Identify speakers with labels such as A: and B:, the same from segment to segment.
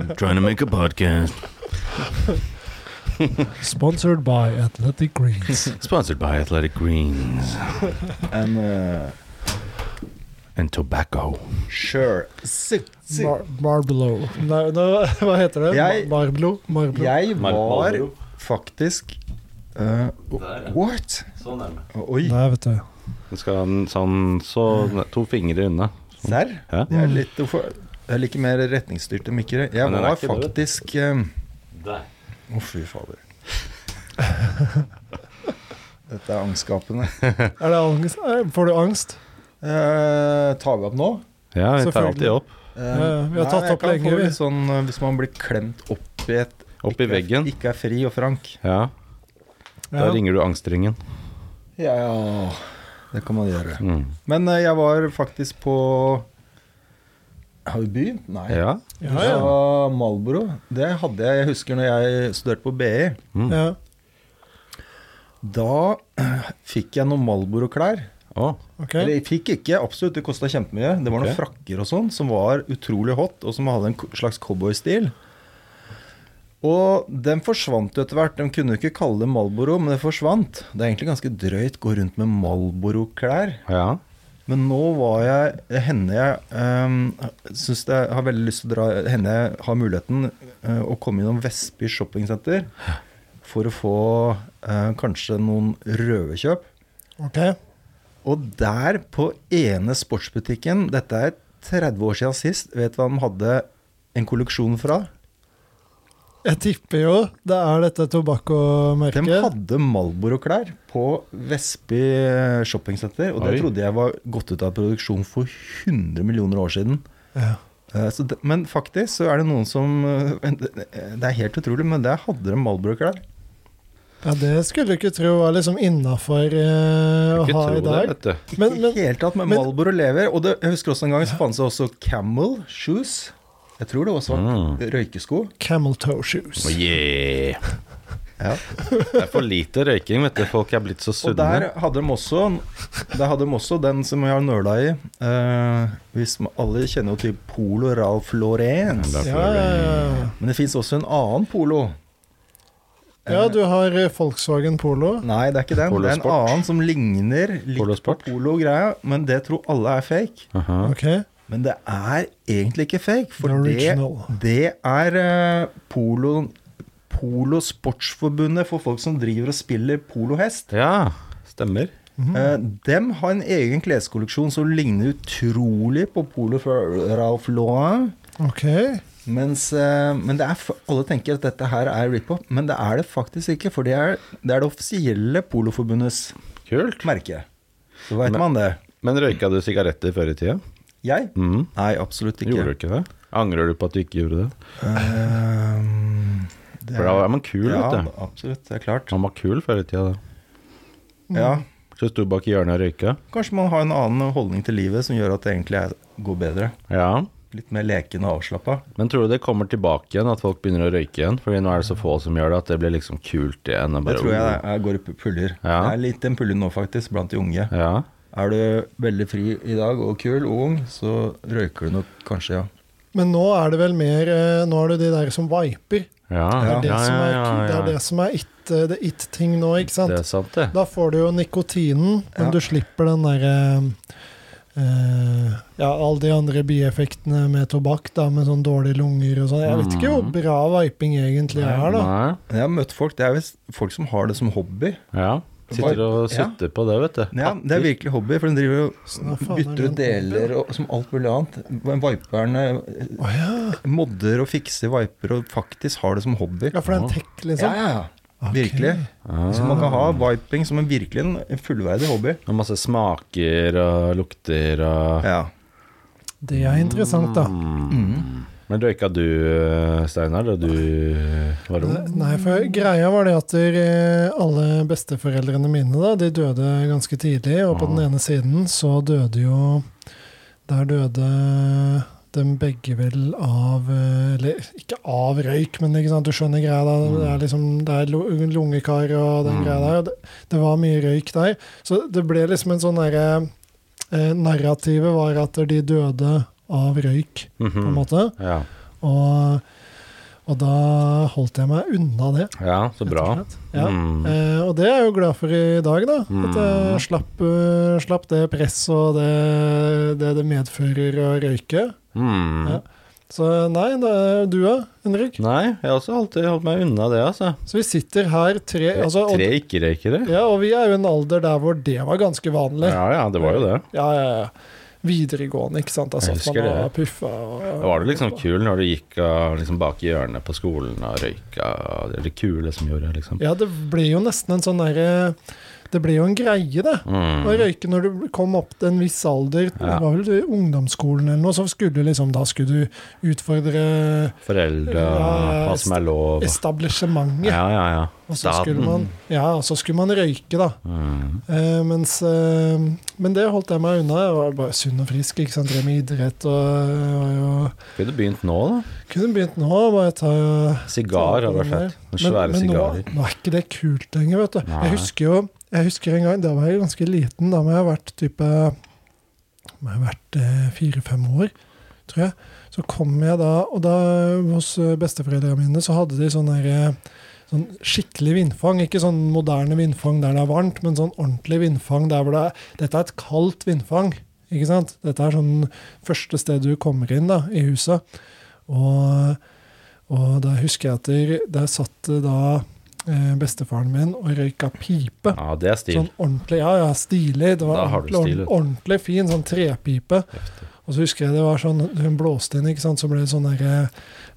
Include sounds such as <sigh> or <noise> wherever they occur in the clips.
A: I'm trying to make a podcast.
B: Sponsored by Athletic Greens.
A: Sponsored by Athletic Greens
C: En
D: eh,
C: uh,
A: and Tobacco.
C: sure si, <laughs> si.
B: Mar Marblow. Nei, nå, <laughs> hva heter det?
C: Jeg-
B: Mar Marblo? Marblo.
C: Jeg var
D: Marlboro.
C: faktisk eh, What?
D: Så nærme.
C: Oi,
B: Nei, vet du.
D: Du skal ha den sånn så to fingre unna.
C: serr?
D: Ja.
C: Det er litt hvorfor- Jeg liker mer retningsstyrte mikker. Jeg
D: Men den er
C: var
D: ikke død.
C: faktisk eh,
D: Der.
C: Å, fy
B: <laughs>
C: fader. Dette er angstskapende.
B: Er det angst? Eh, Får du angst?
C: Eh, tar vi opp nå?
D: Ja, vi tar alltid
B: Selvfølgelig.
D: opp.
C: Eh,
B: Ja, vi har
C: nei,
B: tatt
C: jeg
B: opp
C: kan
B: lenge,
C: få
B: vi.
C: litt Sånn, eh, hvis man blir klemt opp i et
D: Opp i
C: ikke-
D: veggen.
C: Ikke er fri og frank.
D: Ja, da
B: Ja.
D: ringer du angstringen.
C: Ja, ja. Det kan man gjøre.
D: Mm.
C: Men eh, jeg var faktisk på Har vi begynt? Nei.
D: Ja.
B: Ja, ja.
C: Så Malboro, det hadde jeg Jeg husker når jeg studerte på BI.
B: ja.
C: Da <clears throat> fikk jeg noen Malboro-klær.
D: Å,
B: Ok.
C: Eller jeg fikk ikke, absolutt, det kosta kjempemye. Det var noen
D: Ok.
C: frakker og sånn som var utrolig hot, og som hadde en ko- slags cowboystil. Og den forsvant jo etter hvert. De kunne jo ikke kalle det Malboro, men det forsvant. Det er egentlig ganske drøyt gå rundt med Malboro-klær.
D: ja.
C: Men nå var jeg Henne jeg um, syns jeg har veldig lyst til å dra Henne jeg har muligheten eh, å komme innom Vestby shoppingsenter for å få eh, kanskje noen røverkjøp.
B: ok.
C: Og der, på ene sportsbutikken Dette er 30 år siden sist. Vet du hva de hadde en kolleksjon fra?
B: Jeg tipper jo det er dette
C: De
B: tobakkomerket.
C: hadde Malboro-klær på Vestby shoppingsenter. Og
D: Oi.
C: det trodde jeg var gått ut av produksjon for 100 millioner år siden.
B: Ja.
C: Eh, Så det, men faktisk så er det noen som eh, en- Det er helt utrolig, men der hadde de Malboro-klær.
B: ja, det skulle du ikke tro var liksom innafor eh, å
D: Ikke
B: ha
D: tro
B: i
D: det,
B: dag.
D: vet du.
C: Ikke
B: Men-
C: i
B: men-
C: det hele tatt, men,
B: men-
C: Malboro lever. Og det, jeg husker også en gang så fantes det også Camel shoes. Jeg tror det også var
D: Mm.
C: røykesko.
B: Camel toe shoes.
D: Oh, yeah.
C: Ja.
D: Det er for lite røyking, vet du. Folk er blitt så
C: Og
D: sunne.
C: der hadde de også Der hadde de også den som jeg har nøla i. eh, hvis man, alle kjenner jo til Polo Ralph Laurenz.
D: Ja,
B: Ja, ja, ja.
C: Men det fins også en annen polo.
B: ja, du har eh, Volkswagen Polo.
C: Nei, det er ikke den.
D: Polo
C: det er en
D: Sport.
C: annen som ligner litt
D: Polo
C: på
D: Sport.
C: polo-greia, men det tror alle er fake.
D: Aha.
B: Ok.
C: Men det er egentlig ikke fake, for
B: The
C: det,
B: original.
C: det er eh, polo, polo Sportsforbundet for folk som driver og spiller polohest.
D: Ja, stemmer.
B: Mhm.
C: Eh, dem har en egen kleskolleksjon som ligner utrolig på polo fra Ralph Lauren.
B: Ok.
C: Mens, eh, men det er, f- alle tenker at dette her er rip-off, men det er det faktisk ikke. For det er det, er det offisielle poloforbundets
D: Kult.
C: merke. Så veit
D: Men-
C: man det.
D: Men røyka du sigaretter før i tida?
C: Jeg?
D: Mm.
C: Nei, absolutt ikke.
D: Gjorde du ikke det? Angrer du på at du ikke gjorde det?
C: Eh, det
D: For da var man kul,
C: ja,
D: vet du.
C: absolutt. Det er klart.
D: Man var kul før i tida, da. Mm.
C: Ja,
D: Så sto bak i hjørnet og røyka.
C: Kanskje man har en annen holdning til livet som gjør at det egentlig er, går bedre.
D: Ja.
C: Litt mer leken og avslappa.
D: Men tror du det kommer tilbake igjen, at folk begynner å røyke igjen? Fordi nå er det så få som gjør det, at det blir liksom kult igjen. Og
C: Det
D: bare,
C: tror jeg det er, går i puller.
D: Ja.
C: Det er litt en puller nå, faktisk, blant de unge.
D: Ja.
C: Er du veldig fri i dag og kul og ung, så røyker du nok kanskje, ja.
B: Men nå er det vel mer eh, Nå er det de der som viper.
D: Ja,
B: Det er det,
D: ja,
B: som, er,
D: ja, ja,
B: det, er
D: ja.
B: det som er it, eh, det it-ting nå, ikke sant?
D: Det er sant, det.
B: Da får du jo nikotinen, men
C: Ja.
B: du slipper den derre eh, ja, alle de andre bieffektene med tobakk, da, med sånn dårlige lunger og sånn. Jeg vet ikke hvor bra viping egentlig er, da.
D: Mm. Nei.
C: Men Jeg har møtt folk, det er visst folk som har det som hobby.
D: Ja. Sitter og
C: Ja.
D: sutter på det, vet du.
C: Ja, det er virkelig hobby, for de driver
B: Sånn,
C: og
B: faen, er
C: bytter
B: det en
C: ut
B: hobby,
C: deler og, som alt mulig annet. Viperne eh,
B: Å ja.
C: modder og fikser viper og faktisk har det som hobby.
B: ja, for det er en tech,
C: Ja,
B: liksom.
C: ja, ja. Virkelig. Så man kan ha viping som en virkelig en fullverdig hobby.
D: Og masse smaker og lukter og
C: Ja.
B: Det er
D: Mm.
B: interessant, da. Mm.
D: Men røyka du, Steinar, da du var ung?
B: Nei, for greia var det at eh, alle besteforeldrene mine da, de døde ganske tidlig, og på den ene siden så døde jo Der døde dem begge vel av eh, Eller ikke av røyk, men ikke sant, du skjønner greia da. Det er liksom det er lu- lungekar og den greia der. Og det, det var mye røyk der. Så det ble liksom en sånn derre eh,
D: Mhm. Mm.
B: Narrativet var at de døde av røyk, på en måte.
D: Ja.
B: Og Og da holdt jeg meg unna det.
D: Ja, så
B: rett og
D: bra.
B: slett. Ja.
D: Mm.
B: Eh, og det er jeg jo glad for i dag, da. At
D: Mm.
B: jeg slapp, eh, slapp det presset og det, det det medfører å røyke.
D: Mm.
B: Ja. Så nei, det er du da, Henrik.
D: Nei, jeg har også alltid holdt meg unna det, altså.
B: Så vi sitter her tre, altså, og,
D: Tre ikke-røykere?
B: ja, og vi er jo i en alder der hvor det var ganske vanlig.
D: Ja, ja, det var jo det.
B: Ja, ja, ja. Videregående, ikke sant. Da
D: Jeg
B: satt
D: husker
B: man og
D: det.
B: puffa og
D: Da var det liksom kul når du gikk og liksom bak i hjørnet på skolen og røyka. Det er det kule som gjorde, liksom.
B: Ja, det ble jo nesten en sånn derre Det ble jo en greie, det. Å
D: Mm.
B: røyke når du kom opp til en viss alder,
D: Ja.
B: det var vel i ungdomsskolen eller noe, så skulle du liksom Da skulle du utfordre
D: Foreldre
B: Ja,
D: og hva som er lov.
B: etablissementet.
D: Ja, mm. ja, ja.
B: Og så skulle man, ja, og så skulle man røyke, da.
D: Mm.
B: Eh, mens, eh, men det holdt jeg meg unna. Jeg var bare sunn og frisk, ikke sant? drev med idrett og, og,
D: Kunne begynt nå, da.
B: og Kunne begynt nå, bare ta
D: Sigar hadde vært fett. Noen Svære
B: nå,
D: sigarer.
B: nå er ikke det kult lenger, vet du.
D: Nei.
B: Jeg husker jo jeg husker en gang, da var jeg ganske liten, da må jeg ha vært type må jeg ha vært eh, fire-fem år, tror jeg. Så kom jeg da, og da hos eh, besteforeldrene mine så hadde de sånn derre Sånn skikkelig vindfang, ikke sånn moderne vindfang der det er varmt, men sånn ordentlig vindfang der hvor det er Dette er et kaldt vindfang, ikke sant? Dette er sånn første sted du kommer inn da, i huset. Og og da husker jeg at der, der satt eh, da eh, bestefaren min og røyka pipe.
D: Ja, det er stil.
B: Sånn ordentlig, ja, ja, stilig. Det var
D: Da har du
B: ordentlig,
D: stil, vet du.
B: ordentlig fin sånn trepipe.
D: Heftig.
B: Og så husker jeg det var sånn, hun blåste inn, ikke sant, så ble det sånn derre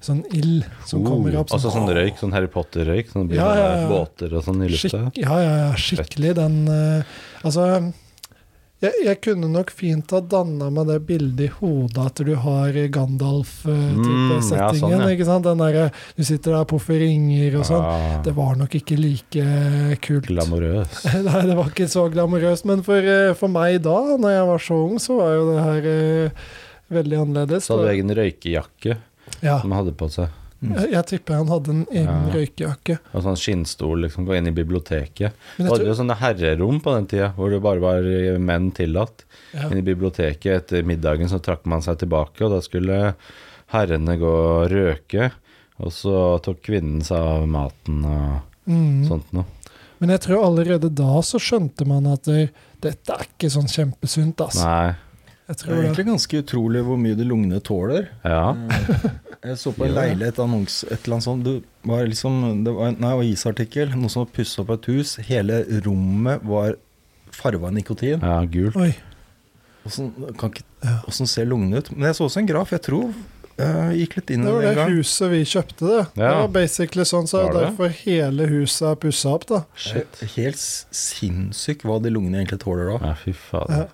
B: sånn ild som kommer opp.
D: Altså sånn røyk, sånn Harry Potter-røyk. Sånn blir
B: Ja, ja, ja.
D: det båter og sånn i lufta.
B: Skikk, ja, ja, ja, skikkelig den eh, Altså, jeg, jeg kunne nok fint ha danna meg det bildet i hodet at du har
D: Mm, ja,
B: Gandalf-type-settingen.
D: sånn, ja.
B: ikke sant? Den derre du sitter der og poffer ringer og sånn.
D: Ah,
B: Det var nok ikke like eh, kult.
D: Glamorøs.
B: <laughs> Nei, det var ikke så glamorøst. Men for, eh, for meg da, når jeg var så ung, så var jo det her eh, veldig annerledes.
D: Så hadde du egen røykejakke
B: ja.
D: som han hadde på seg.
B: jeg, jeg tipper han hadde en egen
D: Ja.
B: røykejakke.
D: Og sånn skinnstol, liksom. Gå inn i biblioteket.
B: Men
D: Det
B: jeg
D: hadde
B: tror,
D: jo sånne herrerom på den tida, hvor det bare var eh, menn tillatt.
B: ja.
D: Inn i biblioteket etter middagen så trakk man seg tilbake, og da skulle herrene gå og røke. Og så tok kvinnen seg av maten og
B: mm.
D: sånt noe.
B: Men jeg tror allerede da så skjønte man at det, dette er ikke sånn kjempesunt, altså.
D: Nei.
B: Jeg
C: Det er
B: tror det.
C: egentlig ganske utrolig hvor mye de lungene tåler.
D: Ja.
C: Jeg så på en
D: Gjør det.
C: leilighet annons, et eller annet sånt. Det var liksom, det var en nei, det var en isartikkel. Noen som hadde pussa opp et hus. Hele rommet var farga av nikotin.
D: ja
B: <laughs>
D: gult.
B: Oi.
C: Åssen kan ikke-
B: Ja.
C: åssen ser lungene ut? Men jeg så også en graf. Jeg tror eh, gikk litt inn i
B: Det var
C: den en
B: det
C: gang.
B: huset vi kjøpte, det. Det
D: Ja.
B: var basically sånn, så
D: Var
B: det er
D: det?
B: derfor hele huset er pussa opp, da.
D: Shit.
C: Helt s- sinnssykt hva de lungene egentlig tåler da.
D: Ja, fy
B: Ja.
D: fader.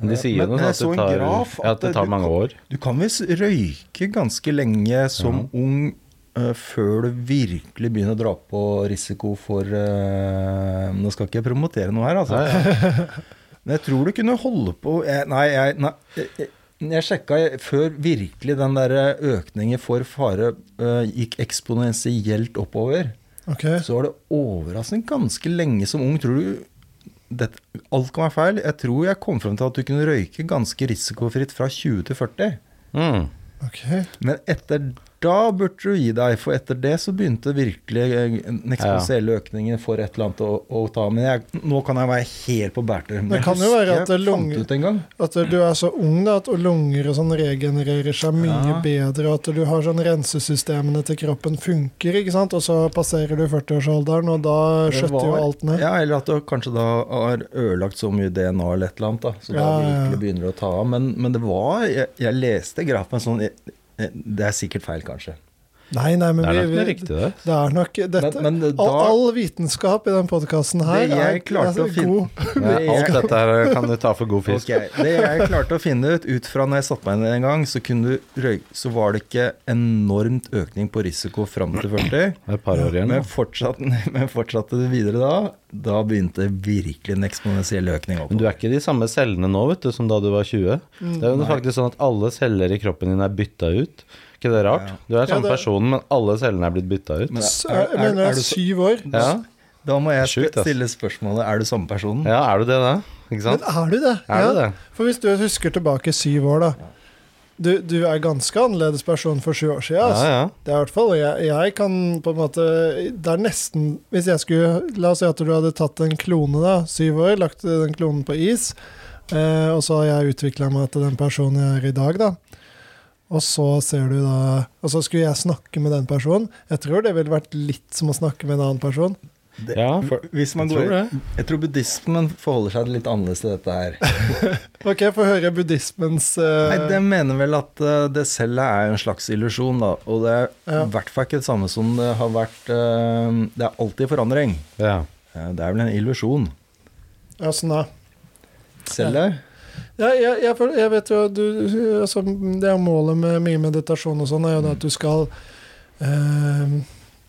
D: Men de sier
C: Men-
D: jo noe
C: men jeg
D: sånt at
C: så
D: det tar,
C: en graf
D: ja,
C: at
D: at det tar
C: du-
D: mange år.
C: Du kan visst røyke ganske lenge som ung eh, før du virkelig begynner å dra på risiko for eh, Nå skal ikke jeg promotere noe her, altså. Men jeg tror du kunne holde på jeg, Nei, jeg, nei jeg, jeg sjekka jeg- før virkelig den der økningen for fare eh, gikk eksponentielt oppover.
B: Ok.
C: Så var det overraskende ganske lenge som ung. Tror du dette, Alt kan være feil. Jeg tror jeg kom frem til at du kunne røyke ganske risikofritt fra 20 til 40.
D: Mm.
B: ok.
C: Men etter da burde du gi deg, for etter det så begynte virkelig eh, den eksponentielle økningen for et eller annet å, å ta. Men jeg, nå kan jeg være helt på bærtur. Men
B: Det
C: jeg
B: kan jo
C: husker
B: være at det
C: jeg
B: er lunge-
C: fant ut en gang.
B: At du er så ung da, at lunger og sånn regenererer seg mye
C: Ja.
B: bedre, og at du har sånn rensesystemene til kroppen funker, ikke sant? Og så passerer du 40-årsalderen, og da
C: Det
B: skjøtter jo
C: var-
B: alt ned.
C: Ja, eller at du kanskje da har ødelagt så mye DNA eller et eller annet, da, så da
B: Ja, ja, ja.
C: virkelig begynner det å ta av. Men, men det var Jeg, jeg leste grafen sånn jeg, jeg- Det er sikkert
B: <laughs>
C: feil, kanskje.
B: Nei, nei, men
D: Det er nok
B: vi,
D: noe
B: vi
D: riktig, det.
B: <laughs> Det er nok dette.
C: Men- men da-
B: all, all vitenskap i den podkasten her altså,
C: Det jeg klarte å finne-
B: god.
D: Ja, alt
C: jeg-
D: dette her kan du ta for god fisk.
C: Ok, Det jeg klarte å finne ut, ut fra når jeg satte meg ned en gang, så, kunne du røyke, så var det ikke enormt økning på risiko fram til 40.
D: Det er et par år igjen.
C: Men
D: da.
C: fortsatte, <laughs> men fortsatte du videre da, da begynte virkelig en eksponentiell økning opp.
D: Men du er ikke de samme cellene nå vet du, som da du var 20. Det er jo faktisk sånn at alle celler i kroppen din er bytta ut. Ikke det er rart? Du er
B: Ja,
D: samme
B: det-
D: personen, men alle cellene er blitt bytta ut.
C: Men
B: S-
C: er- er-
B: Jeg mener det
C: er
B: er
C: du så-
B: syv år.
D: Ja,
C: Da må jeg
D: Sjukt, ass.
C: stille spørsmålet er du samme personen.
D: ja er du det, da? Ikke
B: Men
D: sant?
B: er du det?
D: Er du det?
B: For hvis du husker tilbake syv år, da. Du, du er ganske annerledes person for sju år siden.
D: Ja,
B: Altså.
D: ja.
B: Det er i hvert fall jeg, jeg kan på en måte Det er nesten Hvis jeg skulle La oss si at du hadde tatt en klone, da, syv år, lagt den klonen på is, eh, og så har jeg utvikla meg til den personen jeg er i dag, da. Og så ser du da Og så skulle jeg snakke med den personen. Jeg tror det ville vært litt som å snakke med en annen person.
C: Det,
D: Ja,
C: hvis man
D: Jeg
C: går,
D: tror det.
C: jeg tror buddhismen forholder seg litt annerledes til dette her.
B: <laughs> Ok, få høre buddhismens eh,
C: Nei, De mener vel at eh, det selv er en slags illusjon, da. Og det er i
B: Ja.
C: hvert fall ikke det samme som det har vært eh, Det er alltid forandring.
D: Ja.
C: Eh, Det er vel en illusjon.
B: Ja, sånn da.
C: Cellet?
B: Ja, jeg, jeg, føler- jeg vet jo du, altså, Det er målet med mye meditasjon og sånn, er jo det at du skal eh,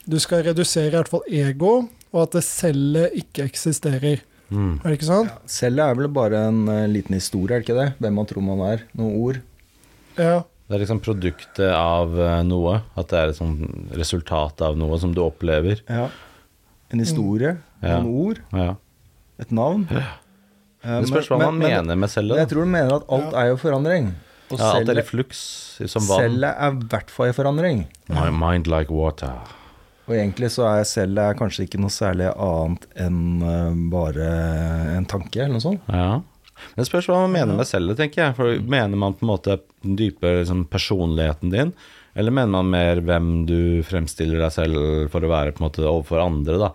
B: Du skal redusere i hvert fall ego, og at det cellet ikke eksisterer.
D: Mm.
B: Er det ikke sant?
C: Cellet er vel bare en eh, liten historie, er det ikke det? Hvem man tror man er. Noen ord.
B: Ja.
D: Det er liksom produktet av eh, noe. At det er et sånn resultat av noe som du opplever.
C: Ja. En historie.
D: Ja.
C: Noen ord.
D: Ja.
C: Et navn. Eh,
D: Det spørs hva
C: men-
D: man
C: men-
D: mener med
C: Men
D: cellet.
C: jeg
D: da.
C: tror du mener at alt er jo forandring. Og
D: Ja, alt er i
C: cellet,
D: flux, som vann.
C: cellet er i hvert fall i forandring.
D: My mind like water.
C: Og egentlig så er cellet kanskje ikke noe særlig annet enn eh, bare en tanke, eller noe sånt.
D: Ja. Men Det spørs hva man mener med cellet, tenker jeg. For Mener man på en måte den dype liksom, personligheten din, eller mener man mer hvem du fremstiller deg selv for å være på en måte overfor andre, da?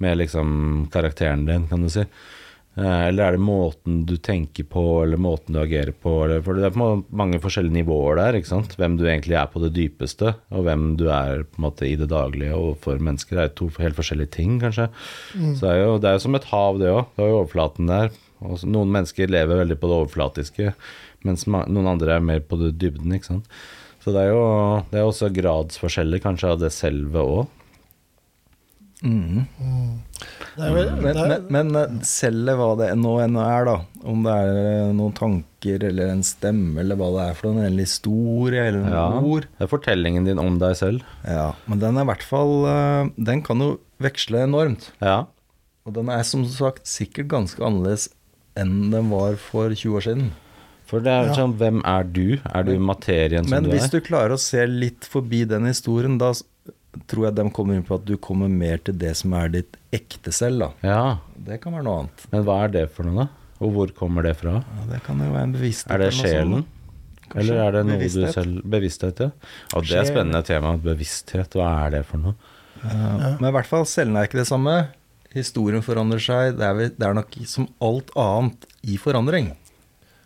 D: Med liksom karakteren din, kan du si. Eh, Eller er det måten du tenker på, eller måten du agerer på? Eller, for det er på en måte mange forskjellige nivåer der. ikke sant? Hvem du egentlig er på det dypeste, og hvem du er på en måte i det daglige overfor mennesker. Det er jo to helt forskjellige ting, kanskje. Så det er, jo, det er jo som et hav, det òg. Det er jo overflaten der. Og så- noen mennesker lever veldig på det overflatiske, mens ma- noen andre er mer på det dybden. ikke sant? Så det er jo det er også gradsforskjeller kanskje av det selve òg.
B: Det er vel,
C: Men,
B: det er,
C: men, men eh, cellet, hva det nå enn er, da. Om det er eh, noen tanker eller en stemme eller hva det er for noe, eller en historie eller noen
D: Ja,
C: ord.
D: det er fortellingen din om deg selv.
C: Ja, men den er i hvert fall eh, Den kan jo veksle enormt.
D: Ja.
C: Og den er som sagt sikkert ganske annerledes enn den var for 20 år siden.
D: For det er
B: Ja.
D: sånn, hvem er du? Er du materien som
C: Men
D: du er?
C: hvis du klarer å se litt forbi den historien, da s- tror jeg de kommer inn på at du kommer mer til det som er ditt ekte selv, da.
D: Ja,
C: Det kan være noe annet.
D: men hva er det for noe, da? Og hvor kommer det fra?
C: Ja, det kan jo være en bevissthet.
D: Er det
C: eller noe
D: sjelen?
C: sånt, da. Kanskje.
D: Eller er det noe
C: Bevissthet.
D: du selv Bevissthet, ja. Og det er et
C: Sjel.
D: spennende tema. Bevissthet, hva er det for noe?
C: Ja. Men i hvert fall, cellen er ikke det samme. Historien forandrer seg. Det er, vel- det er nok som alt annet i forandring.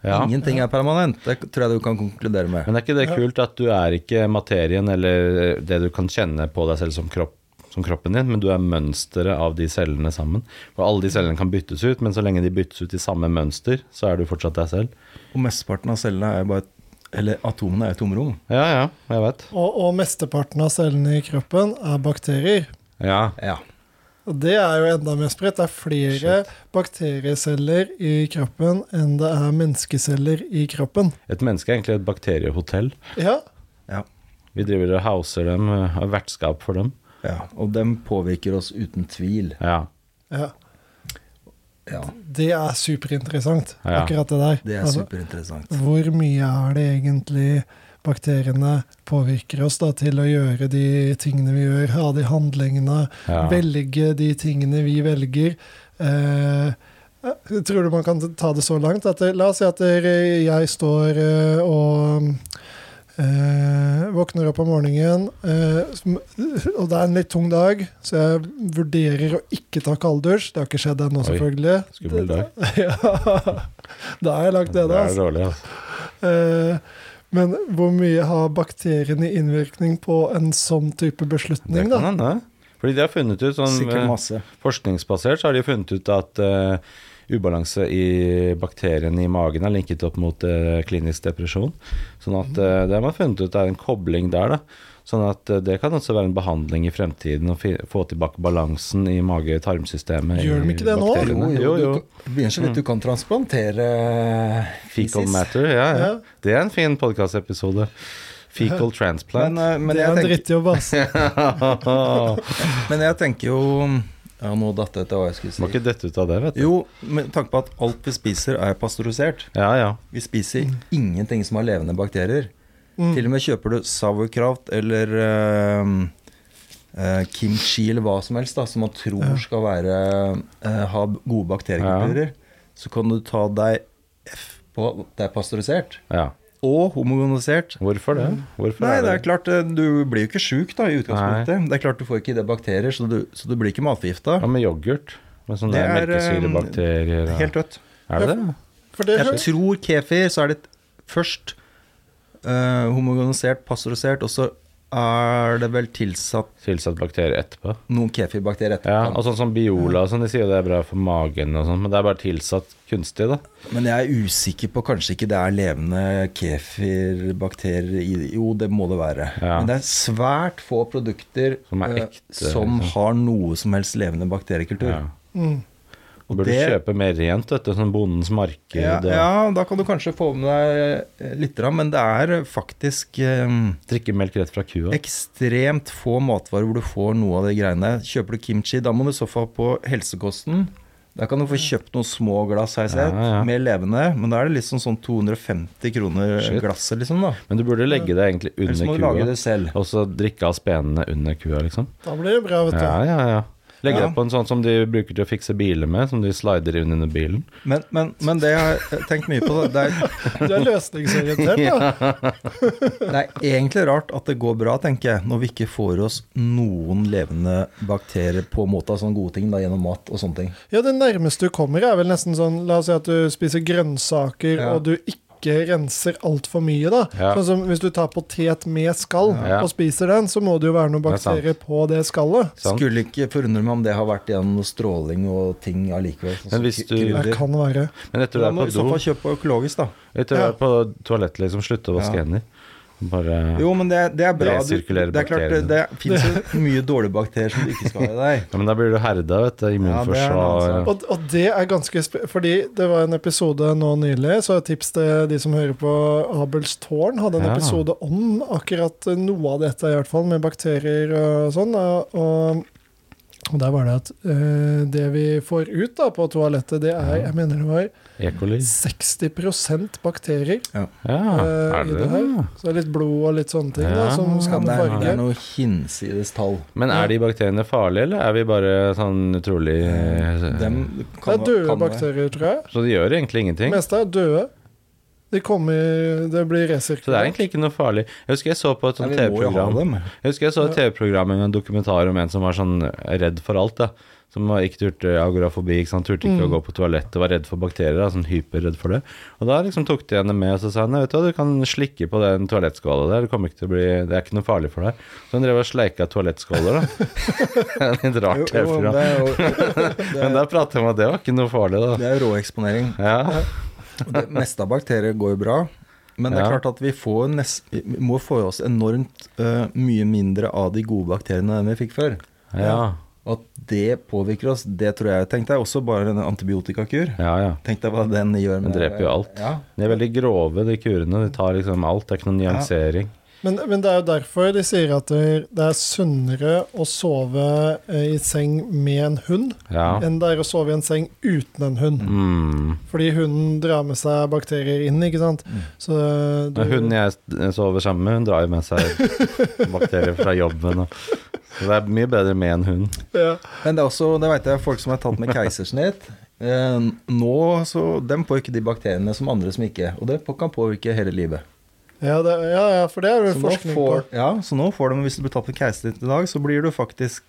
D: Ja.
C: Ingenting er permanent. Det tror jeg du kan konkludere med.
D: Men er ikke det kult at du er ikke materien eller det du kan kjenne på deg selv som, kropp, som kroppen din, men du er mønsteret av de cellene sammen? For alle de cellene kan byttes ut, men så lenge de byttes ut i samme mønster, så er du fortsatt deg selv.
C: Og mesteparten av cellene er jo bare Eller atomene er jo tomrom.
D: Ja, ja, jeg vet.
B: og, og mesteparten av cellene i kroppen er bakterier.
D: Ja,
C: Ja.
B: Og det er jo enda mer spredt. Det er flere bakterieceller i kroppen enn det er menneskeceller i kroppen.
D: Et menneske er egentlig et bakteriehotell.
B: Ja,
C: ja.
D: Vi driver og houser dem, eh, har vertskap for dem.
C: ja. Og dem påvirker oss uten tvil.
D: Ja,
B: ja.
C: Ja,
B: Det er superinteressant,
D: Ja.
B: akkurat det der.
C: det er
B: Altså,
C: superinteressant.
B: Hvor mye er det egentlig bakteriene påvirker oss da, til å gjøre de tingene vi gjør, ha de handlingene,
D: Ja.
B: velge de tingene vi velger? Eh, jeg tror du man kan ta det så langt? At, det- la oss si at det- jeg står eh, og eh, våkner opp om morgenen, eh, som- <laughs> og det er en litt tung dag, så jeg vurderer å ikke ta kalddusj. Det har ikke skjedd ennå,
D: Oi,
B: selvfølgelig. <laughs>
D: skummel dag.
B: ja, da har jeg lagt det,
D: er
B: da. Altså.
D: dårlig, altså.
B: Eh, Men hvor mye har bakteriene innvirkning på en sånn type
D: Det kan
B: beslutning, da?
D: hende. Fordi de har funnet ut sånn
C: Sikkert
D: eh,
C: masse.
D: Forskningsbasert så har de funnet ut at eh, ubalanse i bakteriene i magen er linket opp mot eh, klinisk depresjon. Sånn at eh, det har man funnet ut er en kobling der. da. Sånn at eh, det kan også være en behandling i fremtiden å fi, få tilbake balansen i mage-tarmsystemet.
B: Gjør de ikke det nå?
C: Jo, jo,
D: jo, jo.
C: du kan- Det begynner så
D: Mm.
C: vidt du kan transplantere
D: Fecal
C: feces.
D: matter, ja, ja.
B: Ja.
D: Det er en fin podkastepisode.
C: <laughs>
D: Fecal
C: Men,
D: transplant.
C: eh, men, eh,
B: det
C: jeg
B: er en
C: tenker,
B: drittjobb, ass.
D: <laughs>
C: men jeg tenker jo Ja, nå datt jeg etter hva jeg
D: Må
C: skulle si.
D: ikke dette ut av det, vet du.
C: Jo, med tanke på at alt vi spiser er pasteurisert.
D: Ja, ja. Mm.
C: Vi spiser ingenting som har levende bakterier.
B: Mm.
C: Til og med kjøper du sauerkraut eller eh, eh, kimchi eller hva som helst da, som man tror
B: Ja.
C: skal være, eh, ha gode bakteriekulturer, så kan du ta deg F på Det er pasteurisert
D: Ja.
C: og homogenisert.
D: Hvorfor det? Hvorfor
C: Mm. Nei,
D: er
C: det er
D: det?
C: klart, eh, du blir jo ikke sjuk da, i utgangspunktet. Det er klart du får ikke i deg bakterier, så du, så du blir ikke matforgifta.
D: Hva med yoghurt? Med sånne
C: Det er, um,
D: melkesyrebakterier og
C: Helt rødt.
D: Er det det?
B: For det,
C: Jeg tror kefir, så er det først eh, homogenisert, pasteurisert, og så er det vel tilsatt
D: Tilsatt bakterier etterpå?
C: noen kefirbakterier etterpå.
D: Ja, og sånn som Biola og sånn, de sier jo det er bra for magen og sånn, men det er bare tilsatt kunstig, da.
C: Men jeg er usikker på kanskje ikke det er levende kefirbakterier i Jo, det må det være.
D: Ja.
C: Men det er svært få produkter
D: Som er
C: eh,
D: ekte,
C: som
D: liksom.
C: har noe som helst levende bakteriekultur.
D: Ja.
B: Mm.
D: Du burde
C: det-
D: kjøpe mer rent, vet du, sånn Bondens marked
C: Ja,
D: og
C: ja, da kan du kanskje få med deg eh, litt, grann, men det er faktisk eh,
D: drikke melk rett fra kua.
C: ekstremt få matvarer hvor du får noe av de greiene. Kjøper du kimchi, da må du i så fall på helsekosten. Der kan du få kjøpt noen små glass, har jeg sett,
D: Ja, ja.
C: mer levende. Men da er det liksom sånn 250 kroner
D: Shit.
C: glasset, liksom, da.
D: Men du burde legge det egentlig
C: Eller så må
D: under
C: du lage
D: kua,
C: det selv.
D: og så drikke av spenene under kua, liksom.
B: da blir det bra, vet du.
D: Ja, ja, ja. Legge
C: Ja.
D: det på en sånn som de bruker til å fikse biler med, som de slider inn under bilen.
C: Men, men, men det jeg har tenkt mye på, da, det er,
B: Du er
D: <laughs>
B: løsningsorientert, da.
C: det er egentlig rart at det går bra, tenker jeg, når vi ikke får oss noen levende bakterier på en måte av sånne gode ting, da, gjennom mat og sånne ting.
B: Ja, det nærmeste du kommer, er vel nesten sånn La oss si at du spiser grønnsaker,
C: Ja.
B: og du ikke renser altfor mye, da.
D: Ja.
B: Sånn som hvis du tar potet med skall
D: Ja.
B: og spiser den, så må det jo være noen
D: Det er sant.
B: bakterier på det skallet.
D: Sant?
C: Skulle ikke forundre meg om det har vært gjennom noe stråling og ting allikevel. sånn
D: Men
C: som
D: hvis du-
C: krydder.
B: Det kan være.
D: Men etter du
C: Da
D: er
C: må
D: på
C: du i så
D: do,
C: fall kjøpe på økologisk, da.
D: etter du
B: Ja.
D: er på toalettet, liksom, slutte å vaske
C: Ja.
D: hender. Bare
C: Jo, men det, det er bra. Du,
D: Resirkulere
C: det er klart, det, det fins jo <laughs> mye dårlige bakterier som du ikke skal ha
B: <laughs>
C: i deg.
D: Ja, men da blir du herda, vet du. Immunforsvar.
C: Ja, det er noe
B: Og, og det er ganske spre- Fordi det var en episode nå nylig, så et tips til de som hører på Abels tårn, hadde en
D: Ja.
B: episode om akkurat noe av dette, i hvert fall, med bakterier og sånn. og- Og, og der var det at eh, det vi får ut da på toalettet, det er Jeg mener det var
D: E. coli.
B: 60 bakterier.
D: Ja,
B: Eh,
D: er
B: i
D: det
B: det
D: det?
B: her. Så det er litt blod og litt sånne ting da,
D: Ja.
B: som
C: Ja,
B: skaper
C: det, er, det
B: farge.
C: er noe hinsides tall.
D: Men er de bakteriene farlige, eller er vi bare sånn utrolig
C: Eh, Dem
B: Det
C: kan-
B: er døde
C: kan-
B: bakterier, tror jeg.
D: Så de gjør egentlig
B: Det
D: ingenting?
B: meste er døde. De kommer Det
D: Så
B: blir
D: det er
B: resirkulert.
D: egentlig ikke noe farlig. Jeg husker jeg så på et
C: Nei,
D: sånt
C: vi må jo ha
D: TV-program
C: dem.
D: Jeg husker jeg så et TV-program med en dokumentar om en som var sånn redd for alt. da Som var- ikke turte agorafobi, ikke sant? turte ikke
C: Mm.
D: å gå på toalettet, var redd for bakterier. Da, sånn hyperredd for det. Og da liksom tok de henne med og så sa nei, vet du hva, du kan slikke på den toalettskåla der, det, kommer ikke til å bli, det er ikke noe farlig for deg. Så hun drev og sleika
C: <laughs>
D: toalettskåler, da. Litt
C: Jo,
D: rart
C: jo, men
D: TV-program.
C: det er
D: <laughs>
C: jo
D: Men der prater jeg om at det var ikke noe farlig, da.
C: det er råeksponering.
D: Ja,
C: Og Det meste av bakterier går jo bra. Men det er
D: Ja.
C: klart at vi, får nest, vi må få i oss enormt eh, mye mindre av de gode bakteriene enn vi fikk før.
D: ja,
C: At det påvirker oss, det tror jeg. Tenk deg også bare en antibiotikakur.
D: ja, ja.
C: Tenk deg hva den gjør med
D: Den dreper jo alt.
C: Ja.
D: De er veldig grove, de kurene. De tar liksom alt. Det er ikke noen nyansering.
B: Men, men det er jo derfor de sier at det det er sunnere å sove eh, i seng med en hund
D: Ja.
B: enn det er å sove i en seng uten en hund.
D: Mm.
B: Fordi hunden drar med seg bakterier inn, ikke sant. Så du,
D: Men Hun jeg s- sover sammen med, hun drar jo med seg
C: <laughs>
D: bakterier fra jobben. Og. Så det er mye bedre med en hund.
B: ja.
C: Men det er også, det vet jeg, folk som er tatt
D: <laughs>
C: med keisersnitt. Eh, nå, så Dem får ikke de bakteriene som andre som ikke. Og det kan påvirke hele livet.
B: Ja, det, ja, ja, for det er det
C: Så nå,
B: forskning
C: får, ja, så nå får de, hvis du blir tatt med keisersnitt i dag, så blir du faktisk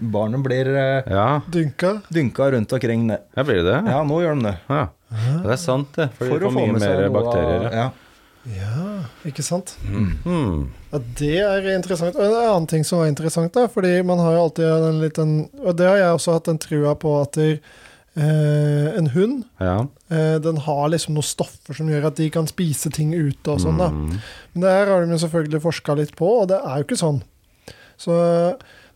C: Barnet blir eh,
D: Ja,
B: på. Dynka.
C: dynka rundt omkring. ne-
D: jeg blir det. Ja.
C: Ja, nå gjør de det.
D: Ja, Det er sant, det. For,
C: For
D: de
C: å
D: får
C: få
D: mye
C: med seg
D: mer
C: noe
D: bakterier.
C: av
D: ja.
C: ja.
B: Ja, ikke sant.
D: Hmm.
B: Ja, Det er interessant. Og en annen ting som var interessant, da, fordi man har jo alltid en liten Og det har jeg også hatt en trua på at der, eh, en hund
D: Ja.
B: eh, den har liksom noen stoffer som gjør at de kan spise ting ute og sånn, da.
D: Mm.
B: Men det her har de jo selvfølgelig forska litt på, og det er jo ikke sånn. Så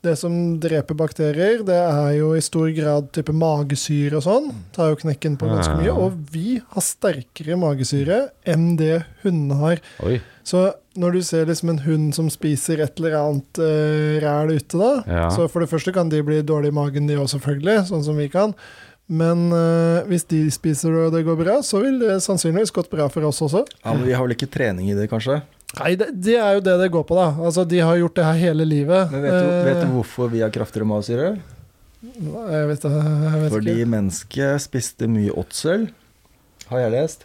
B: det som dreper bakterier, det er jo i stor grad type magesyre og sånn. Tar jo knekken på ganske mye.
D: Ja.
B: Og vi har sterkere magesyre enn det hundene har.
D: Oi.
B: Så når du ser liksom en hund som spiser et eller annet eh, ræl ute, da,
D: Ja.
B: så for det første kan de bli dårlige i magen, de òg, selvfølgelig, sånn som vi kan. Men eh, hvis de spiser det og det går bra, så vil det sannsynligvis gått bra for oss også.
C: ja, men Vi har vel ikke trening i det, kanskje?
B: Nei, det, det er jo det det går på, da. Altså, de har gjort det her hele livet.
C: Men vet du, vet du
B: Eh,
C: hvorfor vi har kraftigere magesyre?
B: Jeg vet, jeg vet
C: Fordi
B: ikke.
C: mennesket spiste mye åtsel, har jeg lest.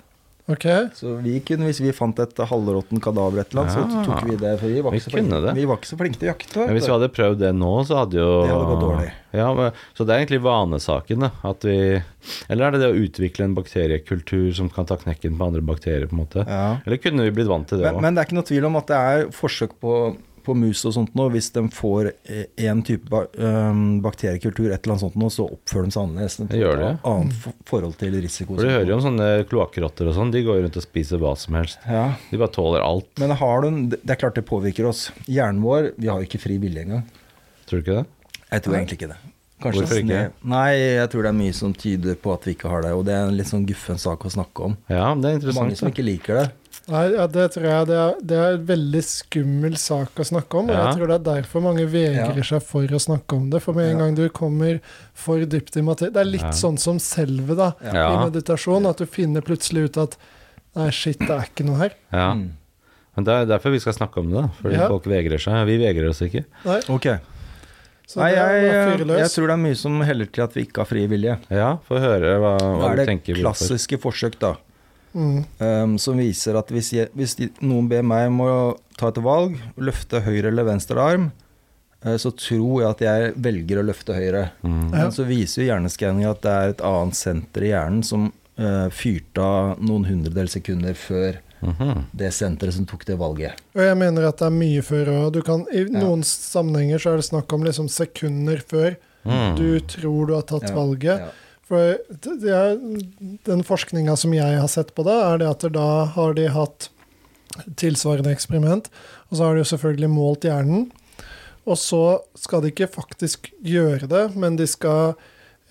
B: Ok.
C: Så vi kunne, hvis vi fant et halvråttent kadaver et eller annet, så
D: Ja.
C: tok vi det. For vi var
D: Vi
C: ikke, så, flinke,
D: kunne det.
C: vi var ikke så flinke til å jakte.
D: Men hvis vi
C: vet du.
D: hadde prøvd det nå, så hadde jo
C: Det hadde gått dårlig.
D: Ja, men, så det er egentlig vanesaken, da. At vi Eller er det det å utvikle en bakteriekultur som kan ta knekken på andre bakterier, på en måte?
C: Ja.
D: Eller kunne vi blitt vant til det
C: Men,
D: òg?
C: men det er ikke noe tvil om at det er forsøk på, på mus og sånt nå. Hvis de får én type ba- øhm, bakteriekultur, et eller annet sånt nå, så oppfører de seg annerledes. De
D: Det gjør
C: får et
D: det.
C: Annet for- forhold til risiko.
D: For du hører jo om sånne kloakkrotter og sånn, de går jo rundt og spiser hva som helst.
C: Ja.
D: De bare tåler alt,
C: Men har du, en- det er klart det påvirker oss. Hjernen vår, vi har jo ikke fri vilje engang.
D: tror du ikke det?
C: Jeg tror egentlig ikke det. Kanskje
D: Hvorfor ikke?
C: sne- Nei, jeg tror det er mye som tyder på at vi ikke har det. Og det er en litt sånn guffen sak å snakke om.
D: Ja, det er
C: Mange
D: interessant.
C: som
D: da.
C: ikke liker det.
B: Nei, ja, det tror jeg det er, det er en veldig skummel sak å snakke om. Og
D: Ja.
B: jeg tror det er derfor mange vegrer seg for å snakke om det. For med en
C: Ja.
B: gang du kommer for dypt i materie Det er litt
D: Ja.
B: sånn som selve, da, i
D: Ja.
B: meditasjon. At du finner plutselig ut at Nei, shit, det er ikke noe her.
D: Ja.
C: Mm.
D: Men det er derfor vi skal snakke om det, da. Fordi
B: Ja.
D: folk vegrer seg. Vi vegrer oss ikke.
B: Nei,
C: Ok.
B: så
C: Nei,
B: det er
C: jeg, eh,
B: bare å fyre
C: jeg,
B: løs.
C: tror det er mye som heller til at vi ikke har fri vilje.
D: Ja, få høre hva,
C: Da
D: hva
C: er
D: du
C: det
D: tenker. hvorfor.
C: klassiske forsøk, da.
B: Mm.
C: ehm, som viser at hvis, jeg, hvis de, noen ber meg om å ta et valg, løfte høyre eller venstre arm, eh, så tror jeg at jeg velger å løfte høyre.
D: Mm.
B: Ja.
C: Men så viser jo hjerneskanning at det er et annet senter i hjernen som eh, fyrte av noen hundredel sekunder før
D: Mhm.
C: det senteret som tok det valget.
B: Og jeg mener at det er mye før òg. I noen sammenhenger så er det snakk om liksom sekunder før
D: Mm.
B: du tror du har tatt
C: Ja,
B: valget.
C: ja.
B: For det det er, den forskninga som jeg har sett på det, er det at da har de hatt tilsvarende eksperiment, og så har de jo selvfølgelig målt hjernen. Og så skal de ikke faktisk gjøre det, men de skal